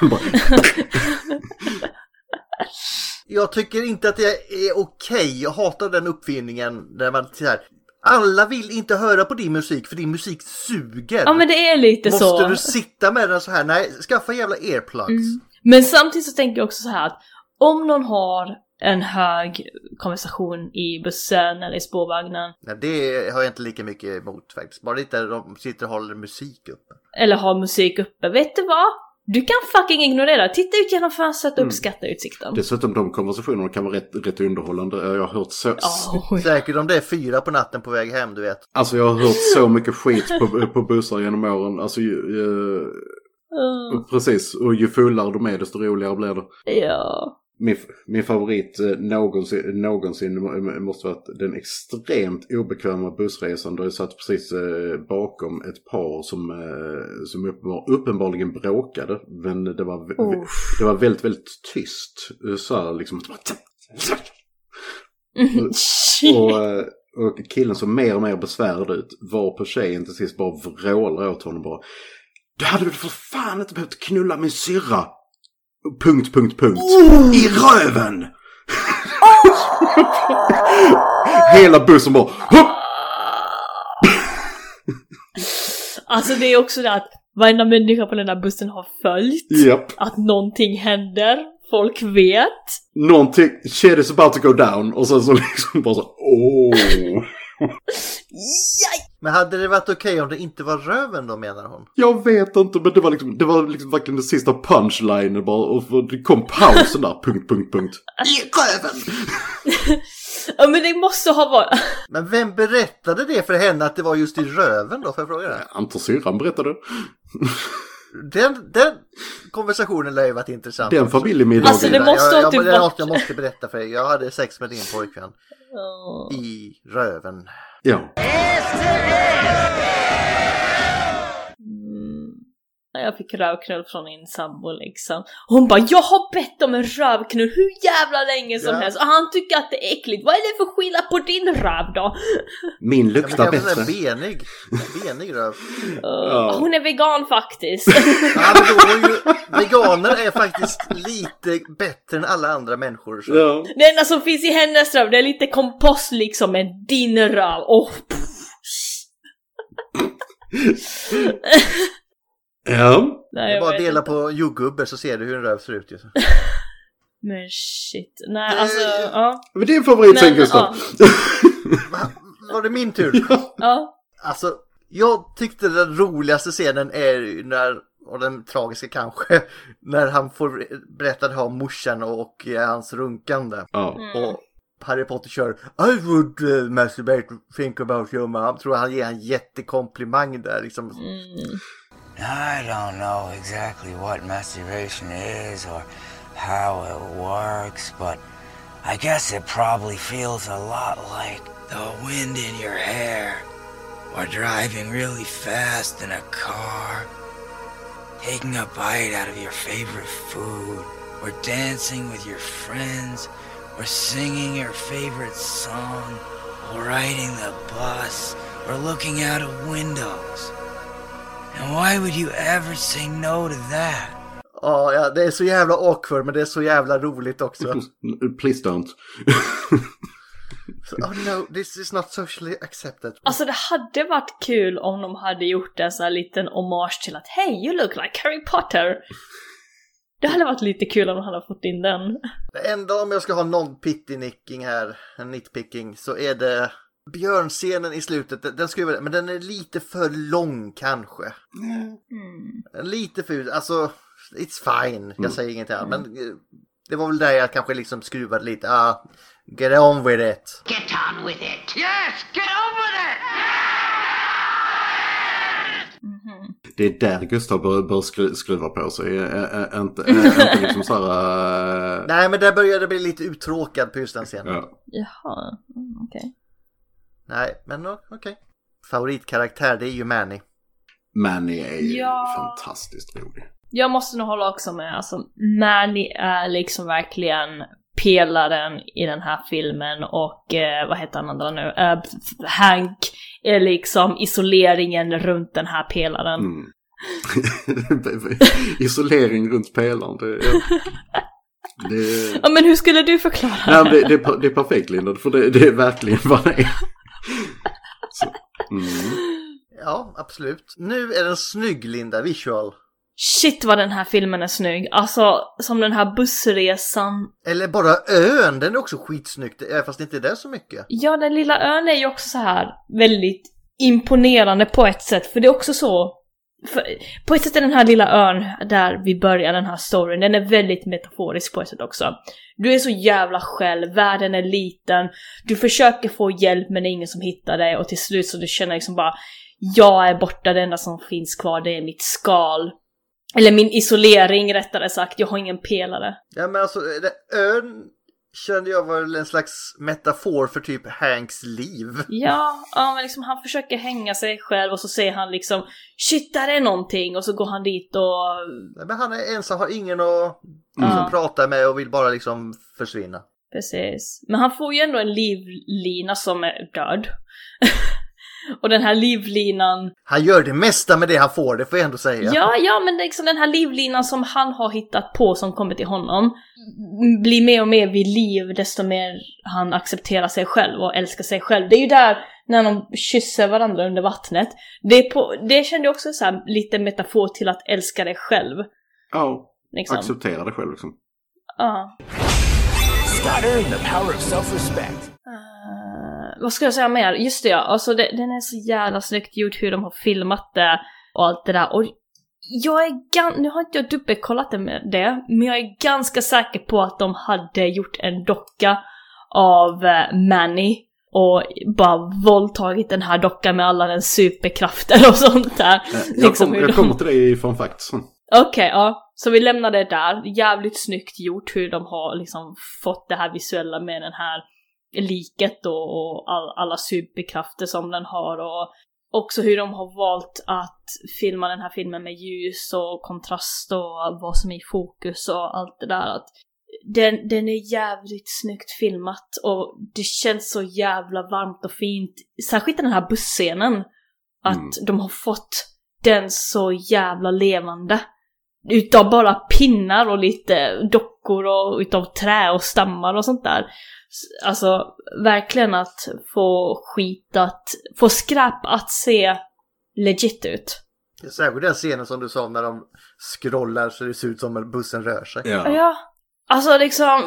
Jag tycker inte att det är okej. Jag hatar den uppfinningen där man så här, alla vill inte höra på din musik för din musik suger.
Ja men det är lite
Måste
så. Mm.
du sitta med den så här? Nej, skaffa jävla earplugs.
Men samtidigt så tänker jag också så här att om någon har en hög konversation i bussen eller i spårvagnen
Nej, det har jag inte lika mycket emot faktiskt. Bara inte de sitter och håller musik uppe.
eller har musik uppe, vet du vad? Du kan fucking ignorera det. Titta ut genom fönstret och uppskatta utsikten.
Dessutom de konversationerna kan vara rätt, rätt underhållande. Jag har hört så,
Oh,
Säkert om det är fyra på natten på väg hem, du vet.
alltså, jag har hört så mycket skit på, på bussar genom åren. Alltså, ju, ju,
Ah,
precis, och ju fullare de är desto roligare blir det.
ja.
Min, min favorit eh, någonsin, någonsin må- eh, måste vara att den extremt obekväma bussresan där jag satt precis eh, bakom ett par som, eh, som uppenbar, uppenbarligen bråkade. Men det var, vä-
Oh.
det var väldigt, väldigt tyst. Eh, Så här liksom. Och, eh, och killen som mer och mer besvärad ut var på tjejen till sist bara vrålar åt honom bara. Du hade väl för fan inte behövt knulla min syrra! Punkt, punkt, punkt. I röven! Hela bussen bara hopp!
Alltså det är också det att varenda människa på den här bussen har följt
Japp.
att någonting händer. Folk vet.
Någonting, shit is about to go down. Och sen så liksom bara så, åh.
Men hade det varit okej om det inte var röven då menar hon?
Jag vet inte, men det var liksom, det var liksom verkligen den sista punchlinen bara. Och det kom pausen där, punkt, punkt, punkt. I röven!
Ja men det måste ha varit...
Men vem berättade det för henne att det var just i röven då? Får jag fråga det?
Anton syrran berättade.
Den, den konversationen lär ju varit intressant.
Den familjemiddagen.
Alltså, det måste ha
jag, jag,
typ
det är
varit-
något jag måste berätta för er. Jag hade sex med din pojkvän.
Ja.
I röven.
Mm.
Ja.
När jag fick rövknull från min sambo liksom. Hon bara “Jag har bett om en rövknull hur jävla länge som
Ja.
helst och han tycker att det är äckligt. Vad är det för skillnad på din röv då?”
Min
Ja, men
luktar
kanske en
bättre.
benig. En benig röv.
Uh, Hon är vegan faktiskt.
Ja, men då är ju, veganer är faktiskt lite bättre än alla andra människor. Så.
Ja.
det enda som finns i hennes röv, det är lite kompost liksom, men din röv, Oh, åh! pff.
ja.
Nej,
Det är
jag
bara
vet
dela
inte.
på jordgubbar så ser du hur en röv ser ut. Ju.
Men shit. Nej, alltså, ja.
Men din favorit sen
Men,
Gustav.
Var det min tur?
ja.
Alltså, jag tyckte den roligaste scenen är ju när, och den tragiska kanske, när han får berätta det här om morsan och eh, hans runkande.
Ja.
Och Harry Potter kör I would uh, masturbate think about your mom. Tror han ger en jättekomplimang där liksom.
I don't know exactly what masturbation is or how it works, but I guess it probably feels a lot like the wind in your hair or driving really fast in a car, taking a bite out of your favorite food, or dancing with your friends, or singing your favorite song, or riding the bus, or looking out of windows. And why would you ever say no to that?
Ja, ja, det är så jävla awkward men det är så jävla roligt också.
Mm. Please don't.
Så, oh no, this is not socially accepted.
Alltså det hade varit kul om de hade gjort en sån här liten hommage till att Hey, you look like Harry Potter! Det hade varit lite kul om de hade fått in den.
Det enda om jag ska ha någon pittinicking här, en nitpicking, så är det björnscenen i slutet. Den- Den ska ju vara, men den är lite för lång kanske. Lite för, alltså, it's fine. Jag säger inget här, men eh, det var väl där jag kanske liksom skruvade lite. Ah, get on with it.
Get on with it. Yes, get on with it.
Det är där Gustav bör, bör skru, skruva på sig. Ä, ä, ä, inte, ä, inte liksom så här... Äh,
Nej, men där började jag bli lite uttråkad på just den scenen.
ja.
Jaha, mm, okej.
Nej, men o- okej. Favoritkaraktär, det är ju Manny.
Manny är ju
Ja.
fantastiskt rolig.
Jag måste nog hålla också med, alltså Manny är liksom verkligen pelaren i den här filmen och eh, vad heter han andra nu? Eh, Hank är liksom isoleringen runt den här pelaren.
Mm. Isolering runt pelaren. Det, är- det,
Ja men hur skulle du förklara
nej, men det, det, är per- det är perfekt Linda, för det, det är verkligen vad det är. Så, mm.
Ja, absolut. Nu är den snygg, Linda. Visual.
Shit vad den här filmen är snygg! Alltså, som den här bussresan.
Eller bara ön, den är också skitsnygg, det- eh, fast inte där så mycket.
Ja, den lilla ön är ju också så här väldigt imponerande på ett sätt, för det är också så... För, på ett sätt är den här lilla ön där vi börjar den här storyn, den är väldigt metaforisk på ett sätt också. Du är så jävla själv, världen är liten, du försöker få hjälp men det är ingen som hittar dig och till slut så du känner liksom bara jag är borta, det enda som finns kvar det är mitt skal. Eller min isolering rättare sagt, jag har ingen pelare.
Ja, men alltså, eh, det, ön kände jag var väl en slags metafor för typ Hanks liv.
Ja, ja men liksom han försöker hänga sig själv och så säger han liksom Shit, där är någonting! Och så går han dit och...
Nej, Men han är ensam, har ingen att liksom
Ja,
prata med och vill bara liksom försvinna.
precis. Men han får ju ändå en livlina som är död. och den här livlinan...
Han gör det mesta med det han får, det får jag ändå säga.
Ja, ja, men det är liksom den här livlinan som han har hittat på som kommer till honom m- blir mer och mer vid liv desto mer han accepterar sig själv och älskar sig själv. Det är ju där när de kysser varandra under vattnet. Det, är på, det kände jag också så här, lite metafor till att älska dig själv.
Ja,
Liksom.
acceptera det själv liksom.
Ja.
Scott earned the power of self-respect.
Eh, vad ska jag säga mer? Just det ja, alltså det, den är så jävla snyggt gjort hur de har filmat det och allt det där. Och jag är gan- nu har inte jag dubbelkollat det med det, men jag är ganska säker på att de hade gjort en docka av eh, Manny och bara våldtagit den här dockan med alla dens superkrafter och sånt där.
Eh, Jag,
Liksom
kom,
hur
jag
de-
kommer till dig i fun fact sen.
Okej, ja. Så vi lämnar det där. Jävligt snyggt gjort hur de har liksom fått det här visuella med den här liket och, och all, alla superkrafter som den har och också hur de har valt att filma den här filmen med ljus och kontrast och vad som är i fokus och allt det där. Att den, den är jävligt snyggt filmat och det känns så jävla varmt och fint. Särskilt den här busscenen. Att
Mm.
de har fått den så jävla levande. Utav bara pinnar och lite dockor och utav trä och stammar och sånt där. S- Alltså verkligen att få skit att, få skräp att se legit ut.
Särskilt den scenen som du sa när de scrollar så det ser ut som att bussen rör sig.
Ja, Alltså liksom,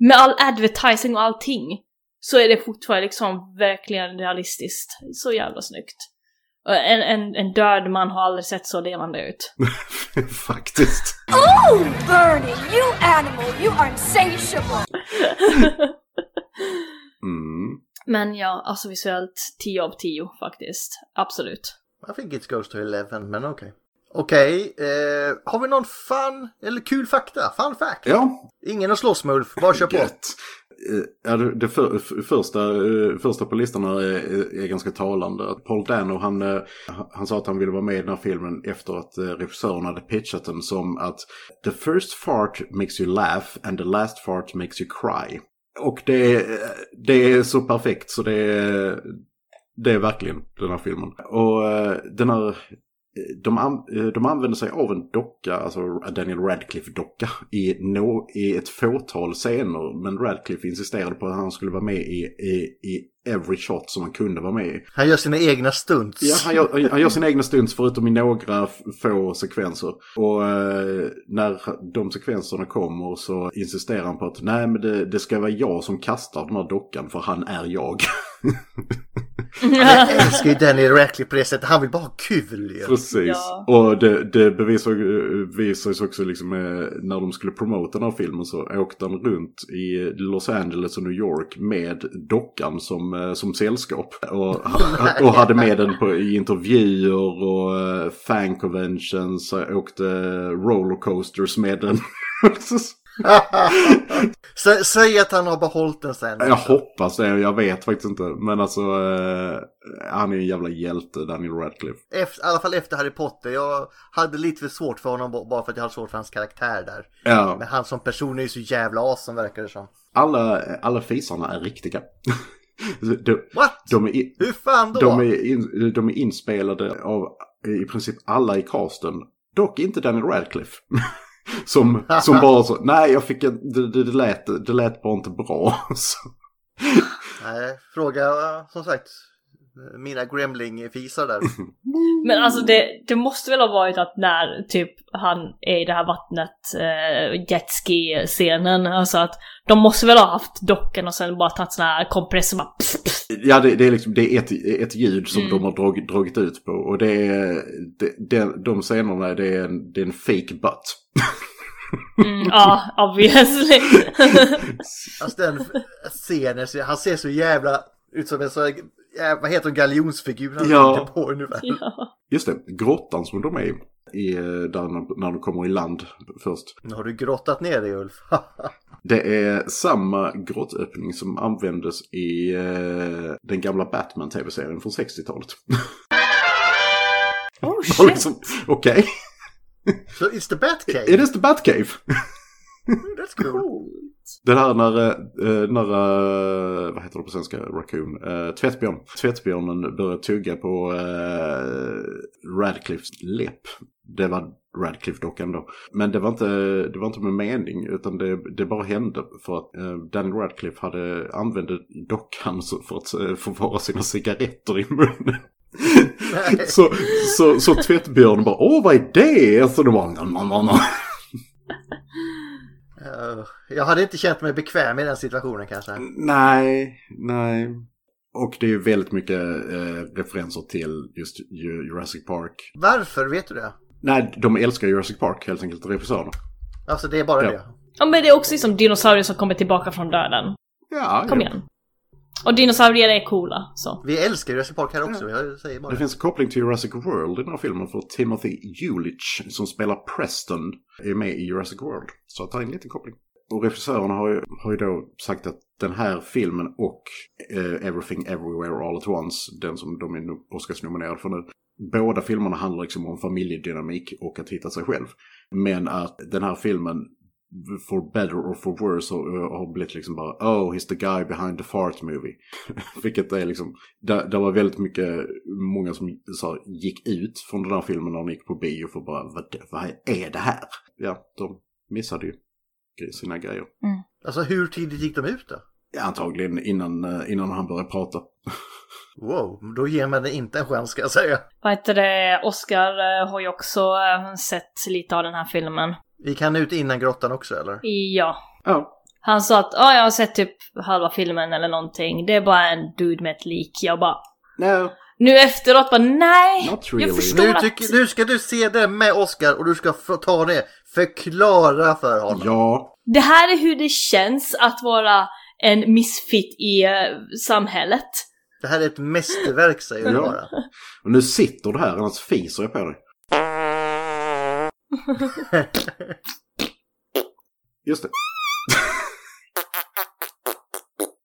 med all advertising och allting så är det fortfarande liksom verkligen realistiskt. Så jävla snyggt. Och En, en, en död man har aldrig sett så levande ut.
Faktiskt.
Oh, Bernie, you animal, you are insatiable.
Mm.
Men ja, alltså visuellt 10 av 10 faktiskt. Absolut.
I think it goes to 11, men okej. Okej, eh, har vi någon fun eller kul fakta? Fun fact?
Ja.
Ingen att slåss med Ulf, bara kör på.
Gött. Eh, Ja, det det för, f- första, eh, första på listan här är, är- är ganska talande. Att Paul Dano han, eh, han sa att han ville vara med i den här filmen efter att eh, regissören hade pitchat den som att The first fart makes you laugh and the last fart makes you cry. Och det, är- det är så perfekt så det, är- det är verkligen den här filmen. Och eh, den här de, an, eh, de använder sig av en docka, alltså en Daniel Radcliffe-docka, i, no, i ett fåtal scener. Men Radcliffe insisterade på att han skulle vara med i, i, i every shot som han kunde vara med i.
Han gör sina egna stunts.
Ja, han gör, han gör sina egna stunts förutom i några f- få sekvenser. Och eh, när de sekvenserna kommer så insisterar han på att nej men det, det ska vara jag som kastar den här dockan för han är jag.
Jag älskar ju Daniel Radcliffe på det sättet. Han vill bara ha kul ju.
Precis.
Ja.
Och det, det bevisar- bevisas också liksom eh, när de skulle promota den här filmen så åkte han runt i Los Angeles och New York med dockan som, eh, som sällskap. Och, och hade med den på, i intervjuer och eh, fan conventions. eh, Åkte rollercoasters med den.
Sä- Säg att han har behållit den sen.
jag hoppas det, jag vet faktiskt inte. Men alltså, eh, han är en jävla hjälte, Daniel Radcliffe.
Efter, I alla fall efter Harry Potter. Jag hade lite för svårt för honom ba- bara för att jag hade svårt för hans karaktär där.
Ja.
Men han som person är ju så jävla awesome verkar det som.
Alla, alla fisarna är riktiga. De,
What?
de är, i-
Hur fan då?
de, är in, de är inspelade av i princip alla i casten. Dock inte Daniel Radcliffe. Som, som bara så, nej jag fick en, det, det, det, lät, det lät bara inte bra. Så,
Nej, fråga eh, som sagt mina Gremling-fisar där.
Men alltså det, det måste väl ha varit att när typ han är i det här vattnet, eh, jetski-scenen, alltså att de måste väl ha haft docken och sen bara tagit såna här kompressor bara pss, pss.
ja det, det är liksom, det är ett, ett ljud som
Mm.
de har drag, dragit ut på. Och det är, det, det, de scenerna det är en, det är en fake butt.
Mm, ja, obviously.
Alltså den scenen, så- han ser så jävla ut som en sån här, jä- vad heter hon, galjonsfigur han
Ja.
sitter på ungefär.
ja.
Just det, grottan som de är i, i, eh, där, när de kommer i land först.
Nu har du grottat ner dig Ulf.
Det är samma grottöppning som användes i eh, den gamla Batman-tv-serien från 60-talet.
Oh
Och
shit.
liksom, Okej,
so it's the Batcave.
är det the Batcave?
That's cool.
Det här när, eh, när eh, vad heter det på svenska, Raccoon? Eh, tvättbjörn. Tvättbjörnen börjar tugga på eh, Radcliffes läpp. Det var Radcliffe-dockan då. Men det var inte, det var inte med mening, utan det, det bara hände för att eh, Daniel Radcliffe hade använde dockan så- för att eh, förvara sina cigaretter i munnen. så, så, så tvättbjörnen bara, åh vad är det? Så de bara, "Nom, nom, nom, nom." Mm.
Eh, jag hade inte känt mig bekväm i den situationen kanske.
Nej, nej. Och det är ju väldigt mycket eh, referenser till just Ju- Jurassic Park.
Varför vet du det?
Nej, de älskar Jurassic Park helt enkelt, regissörerna.
Alltså det är bara
Ja.
det.
Ja men det är också liksom dinosaurier som kommer tillbaka från döden.
Ja,
Kom
ja.
igen. Och dinosaurier är coola, så.
Vi älskar Jurassic Park här också, jag säger bara
Det
det.
finns en koppling till Jurassic World i den här filmen för Timothy Julich som spelar Preston är med i Jurassic World. Så att det är en liten koppling. Och regissörerna har ju, har ju då sagt att den här filmen och eh, Everything Everywhere All At Once, den som de är no- Oscarsnominerade för nu, båda filmerna handlar liksom om familjedynamik och att hitta sig själv. Men att den här filmen for better or for worse har, har blivit liksom bara oh he's the guy behind the fart movie. Vilket är liksom, det, det var väldigt mycket, många som så här, gick ut från den här filmen när de gick på bio för bara vad, vad är det här? Ja, de missade ju gre- sina grejer.
Alltså hur tidigt gick de ut då?
Ja, antagligen innan, eh, innan han började prata.
Wow, då ger man det inte en chans ska jag säga.
Vad heter det, Oscar eh, har ju också eh, sett lite av den här filmen.
Vi kan ut innan grottan också eller?
Ja.
Ja.
Han sa att "Ja, jag har sett typ halva filmen eller någonting. Det är bara en dude med ett lik. Jag bara...
No.
Nu efteråt bara nej!
Not
Jag
really.
förstår
Nu,
att...
tycker, nu ska du se det med Oscar och du ska få ta det. Förklara för honom.
Ja.
Det här är hur det känns att vara en misfit i eh, samhället.
Det här är ett mästerverk säger du
Ja.
bara.
Och nu sitter du här, annars fiser jag på dig. Just det.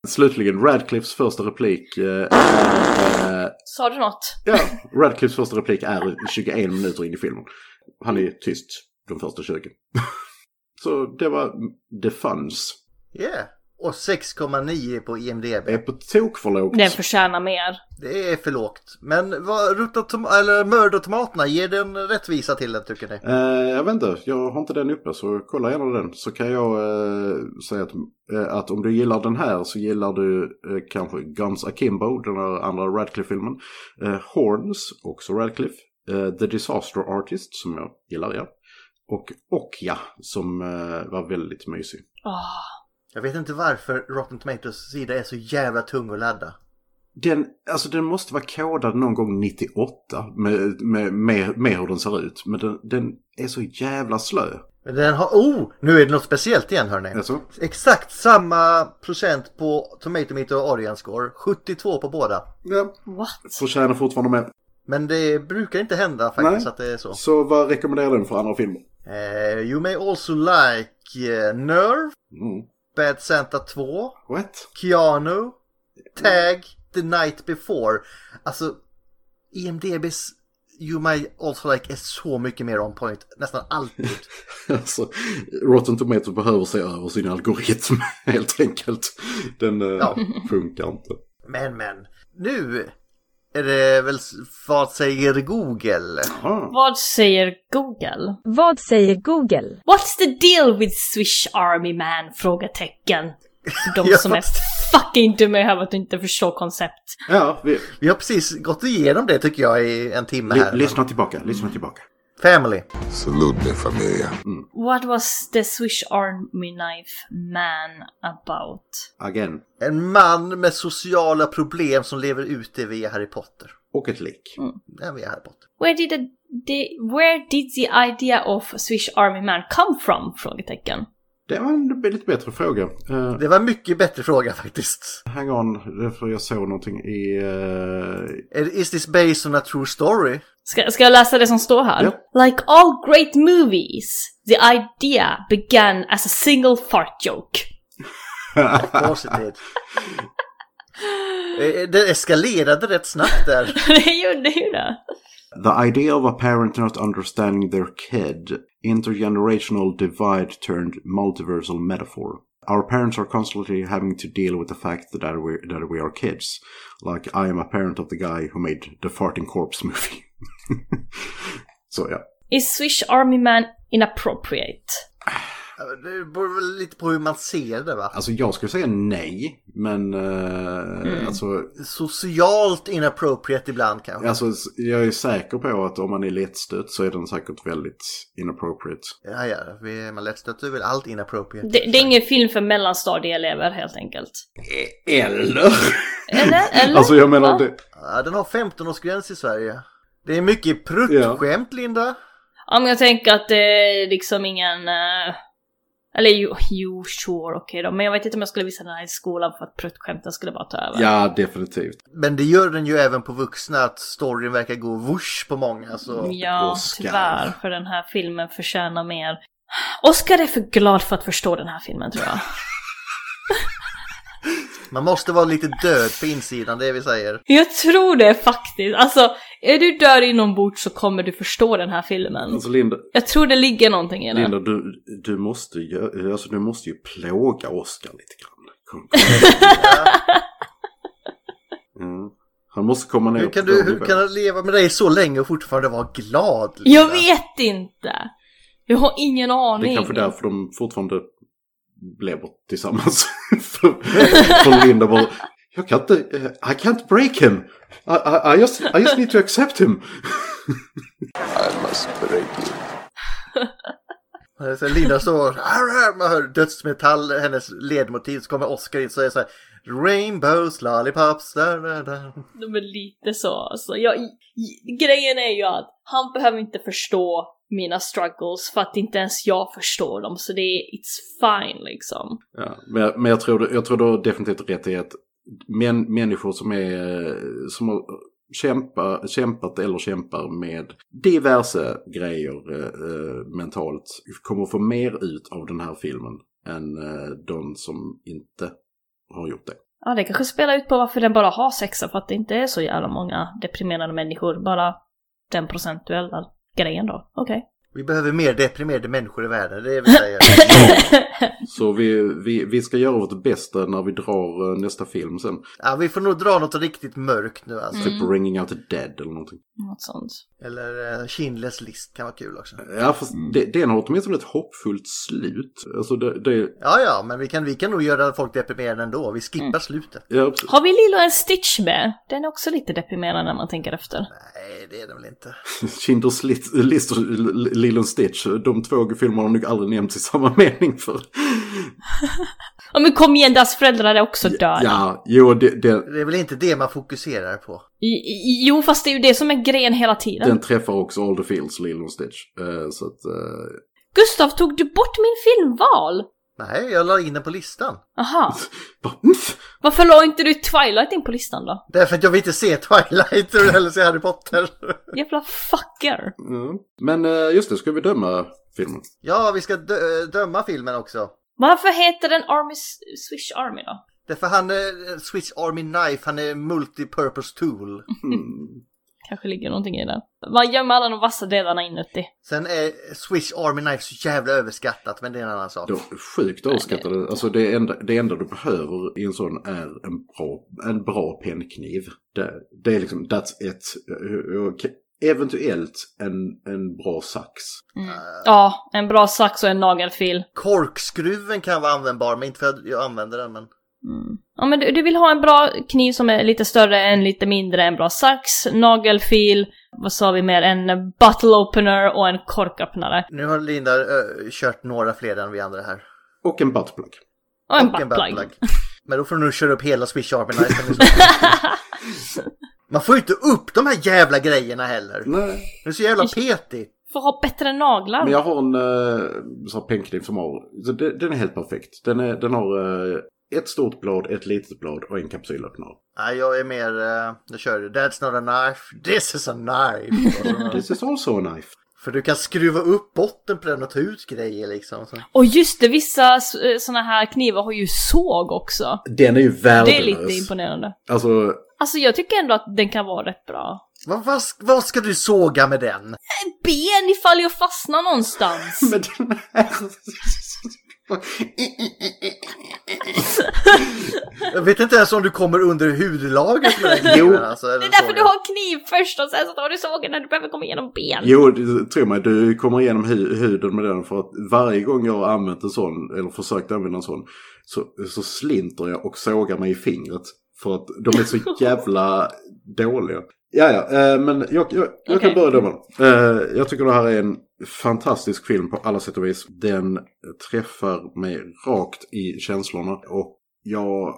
Slutligen, Radcliffes första replik eh, är... eh,
Sa du något?
Ja, Radcliffes första replik är 21 minuter in i filmen. Han är tyst de första 20. Så det var The Funs.
Yeah. Och 6,9 på IMDB.
Det är på tok för lågt.
Den förtjänar mer.
Det är för lågt. Men vad, ruttna tom- eller mördartomaterna, ger den rättvisa till den tycker ni?
Eh, jag vet inte, jag har inte den uppe så kolla gärna den. Så kan jag eh, säga att, eh, att om du gillar den här så gillar du eh, kanske Guns Akimbo, den här andra Radcliffe-filmen. Eh, Horns, också Radcliffe. Eh, The Disaster Artist, som jag gillar, ja. Och Okja, som eh, var väldigt mysig.
Åh,
Jag vet inte varför Rotten Tomatoes sida är så jävla tung att ladda.
Den, alltså den måste vara kodad någon gång 98 med, med, med, med hur den ser ut. Men den, den är så jävla slö.
Men den har... Oh! Nu är det något speciellt igen hörni.
Alltså,
Exakt samma procent på Tomato Meter och Orient Score. 72 på båda.
ja,
what?
förtjänar fortfarande med.
Men det brukar inte hända faktiskt
Nej.
att det är så.
Så vad rekommenderar du för andra filmer?
Eh, you may also like eh, Nerve,
Mm.
Bad Santa 2,
What?
Keanu, Tag, The Night Before. Alltså, IMDBs You may also like är så mycket mer on point. Nästan alltid.
alltså, Rotten Tomatoes behöver se över sin algoritm helt enkelt. Den eh,
Ja.
funkar inte.
Men, men. Nu är det väl s- vad säger Google?
Ah.
Vad säger Google?
Vad säger Google?
What's the deal with Swish Army Man? Frågetecken. De
Ja.
som är fucking dumma i huvudet och inte förstår koncept.
Ja, vi,
Vi har precis gått igenom det tycker jag i en timme
li,
här.
lyssna tillbaka, lyssna tillbaka.
Family.
Salute mi familia.
What was the Swish Army Knife Man about?
Again.
En man med sociala problem som lever ute via Harry Potter.
Och ett lik.
Nej, via Harry Potter.
Where did the, the, where did the idea of Swish Army Man come from? Frågetecken.
Det var en lite bättre fråga. Eh,
Det var en mycket bättre fråga faktiskt.
hang on, det är för jag såg någonting i... eh,
Is this based on a true story?
Ska, ska jag läsa det som står här? Like all great movies, the idea began as a single fart joke.
Positivt. Eh, Det eskalerade rätt snabbt där.
det gjorde ju det.
The idea of a parent not understanding their kid, intergenerational divide turned multiversal metaphor. Our parents are constantly having to deal with the fact that we, that we are kids. Like, I am a parent of the guy who made the Farting Corpse movie. Så ja.
Is Swish Army Man inappropriate?
Det beror väl lite på hur man ser det va?
Alltså jag skulle säga nej, men eh, alltså,
Socialt inappropriate ibland kanske.
alltså jag är säker på att om man är lättstött så är den säkert väldigt inappropriate.
Ja, ja, vi, man lättstöter väl allt inappropriate.
Det, det är ingen film för mellanstadieelever helt enkelt.
Eller?
Eller? Eller?
Alltså jag menar,
Va?
det,
Ja, den har 15-årsgräns i Sverige. Det är mycket pruttskämt Linda.
Ja men jag tänker att det är liksom ingen... eh, Eller jo, jo sure, okej då. Men jag vet inte om jag skulle visa den här i skolan för att pruttskämten skulle bara ta över.
ja definitivt.
Men det gör den ju även på vuxna att storyn verkar gå whoosh på många. Så...
Ja,
Oscar.
tyvärr. För den här filmen förtjänar mer. Oscar är för glad för att förstå den här filmen tror jag.
Man måste vara lite död på insidan, det är vi säger.
Jag tror det faktiskt. Alltså, är du död inombords så kommer du förstå den här filmen.
Alltså Linda,
Jag tror det ligger någonting i det.
Linda, du, du, måste ju, alltså, du måste ju plåga Oscar lite grann. Kom, kom. Mm. Han måste komma ner
Hur kan,
på
du,
vår
hur
nivå.
kan han leva med dig så länge och fortfarande vara glad? Linda?
Jag vet inte! Jag har ingen
Det
aning.
är kanske därför de fortfarande blev tillsammans. för, för Linda bara, jag kan inte, eh, I can't break him. I, I, I, just, I just need to accept him.
I must break you.
Eh, Så Linda står här, här, man hör dödsmetall, hennes ledmotiv, så kommer Oscar in och säger så här Rainbows, lollipops, da, da, da.
De är lite så alltså. Jag, i- grejen är ju att han behöver inte förstå mina struggles för att inte ens jag förstår dem så det är it's fine liksom.
Ja, men jag, men jag tror, du- jag tror du har definitivt rätt i att män, människor som, är, eh, som har kämpa, kämpat eller kämpar med diverse grejer eh, eh, mentalt kommer få mer ut av den här filmen än eh, de som inte har gjort det.
Ja, det kanske spelar ut på varför den bara har sexa för att det inte är så jävla många deprimerade människor, bara den procentuella grejen då. Okej.
Vi behöver mer deprimerade människor i världen, det är vi säger.
Så vi, vi, vi ska göra vårt bästa när vi drar eh, nästa film sen.
ja, vi får nog dra något riktigt mörkt nu alltså.
Typ Ringing Out the Dead eller någonting.
Något sånt.
Eller uh, Kindles list kan vara kul också.
Ja, fast det, den har åtminstone ett hoppfullt slut. Alltså det, det
Ja, ja, men vi kan, vi kan nog göra folk deprimerade ändå. Vi skippar slutet.
ja, precis.
Har vi Lilo en Stitch med? Den är också lite deprimerande när man tänker efter.
Nej, det är det väl inte.
Schindler's List, List och L- Lilo Stitch, de två filmerna har nog aldrig nämnts i samma mening för.
Ja men kom igen, deras föräldrar är också döda.
Ja, jo, det, det,
Det är väl inte det man fokuserar på.
I, i, jo fast det är ju det som är grejen hela tiden.
den träffar också All the Fields, Lilo och Stitch. Eh, så att, eh,
Gustav, tog du bort min filmval?
Nej, jag la in den på listan.
Aha.
bara, "Mff,
Varför la inte du Twilight in på listan då?
Därför att jag vill inte se Twilight eller se Harry Potter.
Jävla fucker.
mm. Men eh, just det, ska vi döma filmen?
Ja, vi ska dö- döma filmen också.
Varför heter den Army S- Swish Army då?
Därför han är Swiss Army Knife, han är multipurpose tool.
Mm.
Kanske ligger någonting i den. Man gömmer alla de vassa delarna inuti.
Sen är Swiss Army Knife så jävla överskattat, men det är en annan sak.
Det var sjukt överskattade. Alltså det enda, det enda du behöver i en sån är en bra, en bra pennkniv. Det, det är liksom, that's it. Eh, och Eventuellt en, en bra sax.
Ja, en bra sax och en nagelfil.
Korkskruven kan vara användbar, men inte för att jag använder den. Men...
Ja men du, du vill ha en bra kniv som är lite större än lite mindre, en bra sax, nagelfil, vad sa vi mer, en bottle opener och en korköppnare.
Nu har Linda ö, kört några fler än vi andra här.
Och en buttplug.
Och en
Och en
buttplug.
buttplug. Men då får du nu köra upp hela Swiss Army Knife. i så fall. Man får ju inte upp de här jävla grejerna heller.
Nej.
Det är så jävla petigt.
Får ha bättre naglar.
Men jag har en eh, sån här pennkniv som har, så det- den är helt perfekt. Den, är, den har eh, ett stort blad, ett litet blad och en kapsylöppnare.
Nej, jag är mer... eh, Jag kör ju That's not a knife, this is a knife. Och så-
This is also a knife.
För du kan skruva upp botten på den och ta ut grejer liksom. Så.
Och just det, vissa sådana här knivar har ju såg också.
Den är ju
Det är
värdelös.
lite imponerande.
Alltså,
Alltså jag tycker ändå att den kan vara rätt bra.
Vad, vad, vad ska du såga med den?
Ben ifall jag fastnar någonstans!
men den här...
Jag vet inte ens om du kommer under hudlagret med den
Jo.
kniven, alltså, eller
Det är därför
sågen.
du har kniv först och sen så tar du sågen när du behöver komma igenom ben.
Jo, det- tro mig, du kommer igenom hu- huden med den för att varje gång jag har använt en sån, eller försökt använda en sån, så, så slinter jag och sågar mig i fingret. För att de är så jävla dåliga. Ja, ja, eh, men jag, jag, jag
Okej.
kan börja döma. Eh, jag tycker det här är en fantastisk film på alla sätt och vis. Den träffar mig rakt i känslorna och jag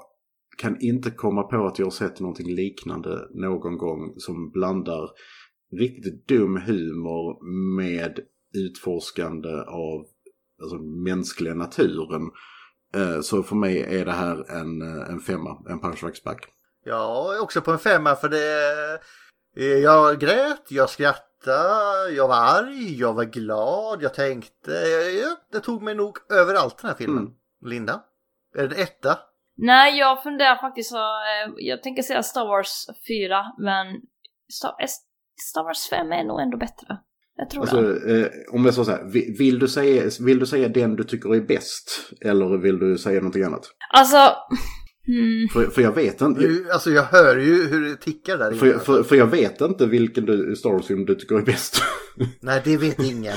kan inte komma på att jag har sett någonting liknande någon gång som blandar riktigt dum humor med utforskande av alltså, den mänskliga naturen. Eh, Så för mig är det här en, eh, en femma, en punchback.
Jag är också på en femma för det... eh, Jag grät, jag skrattade, jag var arg, jag var glad, jag tänkte... Jag, jag, det tog mig nog överallt den här filmen.
Mm.
Linda? Är det en etta?
Nej, jag funderar faktiskt så, eh, jag tänker säga Star Wars 4, men Star, S- Star Wars 5 är nog ändå bättre. Jag tror
Alltså,
det.
eh, om jag sa så här, vi- vill du, säga, vill du säga den du tycker är bäst? Eller vill du säga någonting annat?
Alltså, hmm,
För, för jag vet inte.
Du, alltså jag hör ju hur det tickar där
För,
inne.
för, för jag vet inte vilken du, Star Wars-film du tycker är bäst.
Nej, det vet ingen.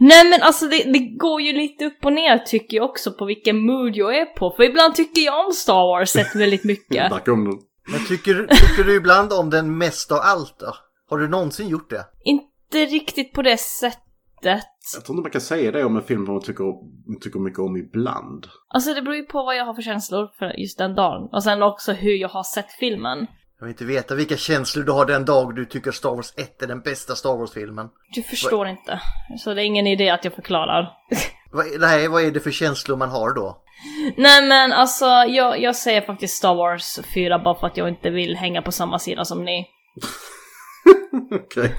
nej men alltså det, det går ju lite upp och ner tycker jag också på vilken mood jag är på, för ibland tycker jag om Star Wars rätt väldigt mycket.
Där kom den.
Men tycker, tycker du ibland om den mest av allt då? Har du någonsin gjort det?
Inte riktigt på det sättet. slutet.
Jag tror inte man kan säga det om en film man tycker, tycker mycket om ibland.
Alltså det beror ju på vad jag har för känslor för just den dagen. Och sen också hur jag har sett filmen.
Jag vill inte veta vilka känslor du har den dag du tycker Star Wars 1 är den bästa Star Wars-filmen.
Du förstår inte. Så det är ingen idé att jag förklarar.
Vad, nej, vad är det för känslor man har då?
Nej men alltså, jag, jag säger faktiskt Star Wars 4 bara för att jag inte vill hänga på samma sida som ni.
Okej.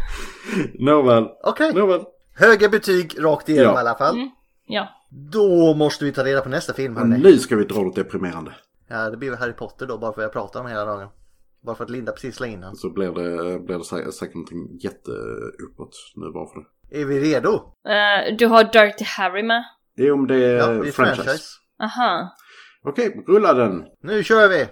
Nåväl.
Okej.
Nåväl.
Höga betyg rakt igenom
Ja.
i alla fall.
Ja.
Då måste vi ta reda på nästa film
Och
hörni.
nu ska vi dra något deprimerande.
Ja, det blir väl Harry Potter då, bara för att jag pratar om hela dagen. Bara för att Linda precis la in den.
Så blir det, blir det sä- säkert någonting jätteuppåt nu bara för det.
Är vi redo?
Eh, du har Dirty Harry med?
Det är om det är,
Ja, det är
franchise.
franchise.
Aha.
Okej, rulla den.
Nu kör vi!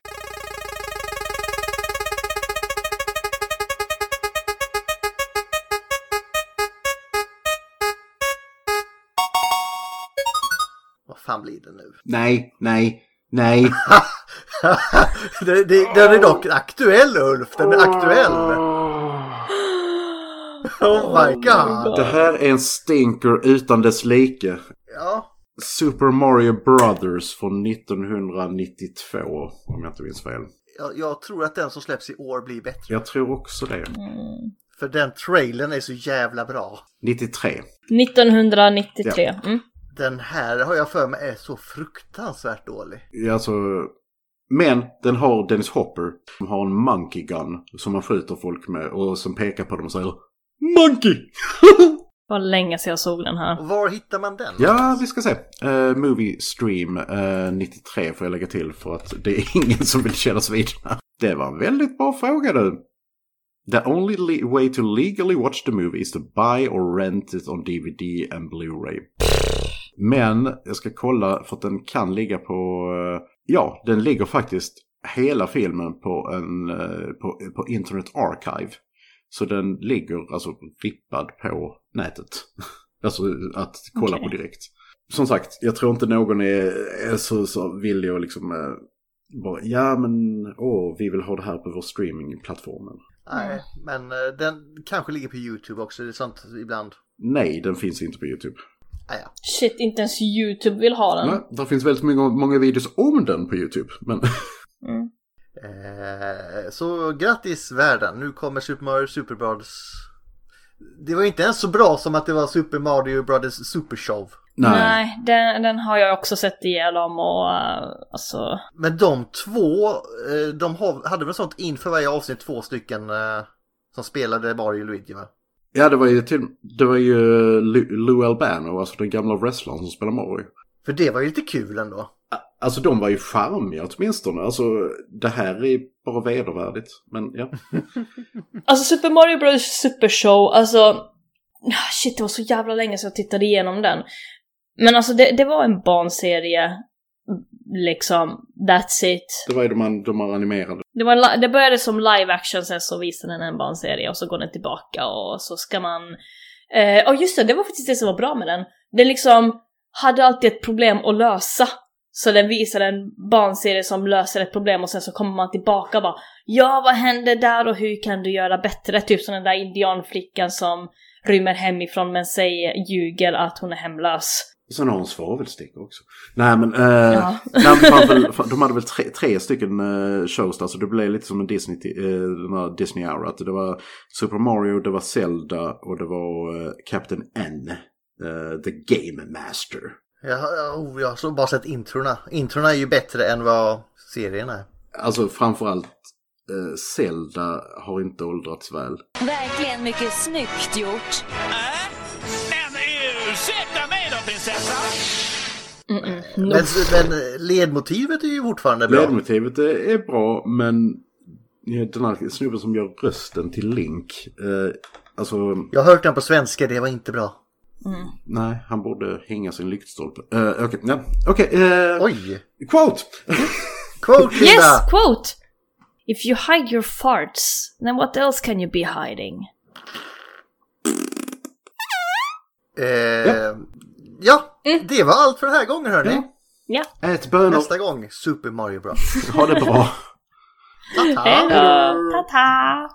Vad fan blir det nu?
Nej, nej, nej.
det, det, den är dock aktuell Ulf, den är aktuell! Oh my god!
det här är en stinker utan dess like.
Ja,
Super Mario Brothers från 1992, om jag inte minns fel.
jag, jag tror att den som släpps i år blir bättre.
Jag tror också det.
För den trailern är så jävla bra.
93.
1993.
Ja.
Mm.
Den här har jag för mig är så fruktansvärt dålig.
Ja, Alltså, men den har Dennis Hopper som har en monkey gun som man skjuter folk med och som pekar på dem och säger Monkey!
Det var länge sedan jag såg den här.
Och var hittar man den?
Ja, vi ska se. Eh, movie Stream eh, 93 får jag lägga till för att det är ingen som vill kännas vid den här. Det var en väldigt bra fråga du. The only le- way to legally watch the movie is to buy or rent it on DVD and Blu-ray. Men jag ska kolla för att den kan ligga på... eh, Ja, den ligger faktiskt hela filmen på, en, eh, på, på Internet Archive. Så den ligger alltså rippad på nätet. Alltså att kolla på direkt. Som sagt, jag tror inte någon är, är så, så villig att liksom eh, bara, ja men åh, vi vill ha det här på vår streamingplattformen.
Nej, men eh, den kanske ligger på YouTube också, det är sånt ibland.
Nej, den finns inte på YouTube.
Ah, ja.
Shit, inte ens YouTube vill ha den.
Nej, där finns väldigt många, många videos om den på YouTube. Men
eh, så grattis världen, nu kommer Super Mario Super Brothers. Det var inte ens så bra som att det var Super Mario Brothers Super Show.
nej.
Nej, den, den har jag också sett igenom och eh, alltså...
Men de två, eh, de har- hade väl sånt inför varje avsnitt två stycken eh, som spelade Mario och Luigi va?
Ja, det var ju, till, det var ju Lou, Lou Albano, alltså den gamla wrestlern som spelar Mario.
För det var ju lite kul ändå.
Alltså de var ju charmiga åtminstone. Alltså det här är bara vedervärdigt. Men ja.
Alltså Super Mario Bros Super Show, alltså... ah, Shit, det var så jävla länge sedan jag tittade igenom den. Men alltså det, det var en barnserie. Liksom, that's it.
Det var ju de, an- de här animerade.
Det, var en, li- det började som live action, sen så visade den en barnserie och så går den tillbaka och så ska man... Eh, och just det, det var faktiskt det som var bra med den. Den liksom hade alltid ett problem att lösa. Så den visar en barnserie som löser ett problem och sen så kommer man tillbaka och bara Ja, vad hände där och hur kan du göra bättre? Typ som den där indianflickan som rymmer hemifrån men säger, ljuger att hon är hemlös.
Sen har hon svavelsticka också. Nej men, eh,
Ja.
nej, men fan, väl, fan, de hade väl tre, tre stycken eh, shows där, så det blev lite som en Disney, eh, den här Disney hour. Att det var Super Mario, det var Zelda och det var eh, Captain N. eh, the Game Master.
Jag, har- oh, jag har så bara sett introna. Introna är ju bättre än vad serien är.
Alltså framförallt eh, Zelda har inte åldrats väl.
Verkligen mycket snyggt gjort.
Men ursäkta mig då prinsessan!
Mm-mm.
Men, men eh, ledmotivet är ju fortfarande bra.
Ledmotivet är, är bra men eh, den här snubben som gör rösten till Link. Eh, alltså
Jag har hört den på svenska, det var inte bra.
Nej, han borde hänga sin lyktstolpe. Eh, Okej, nej. Okej, eh,
Oj!
quote!
Quote Linda!
Yes, quote! If you hide your farts, then what else can you be hiding?
Eh, ja, det var allt för den här gången hörni.
Ja.
Ja.
Ät bönor,
Nästa gång, Super Mario Bros.
哎
ha det bra.
Hej då! Ta-ta!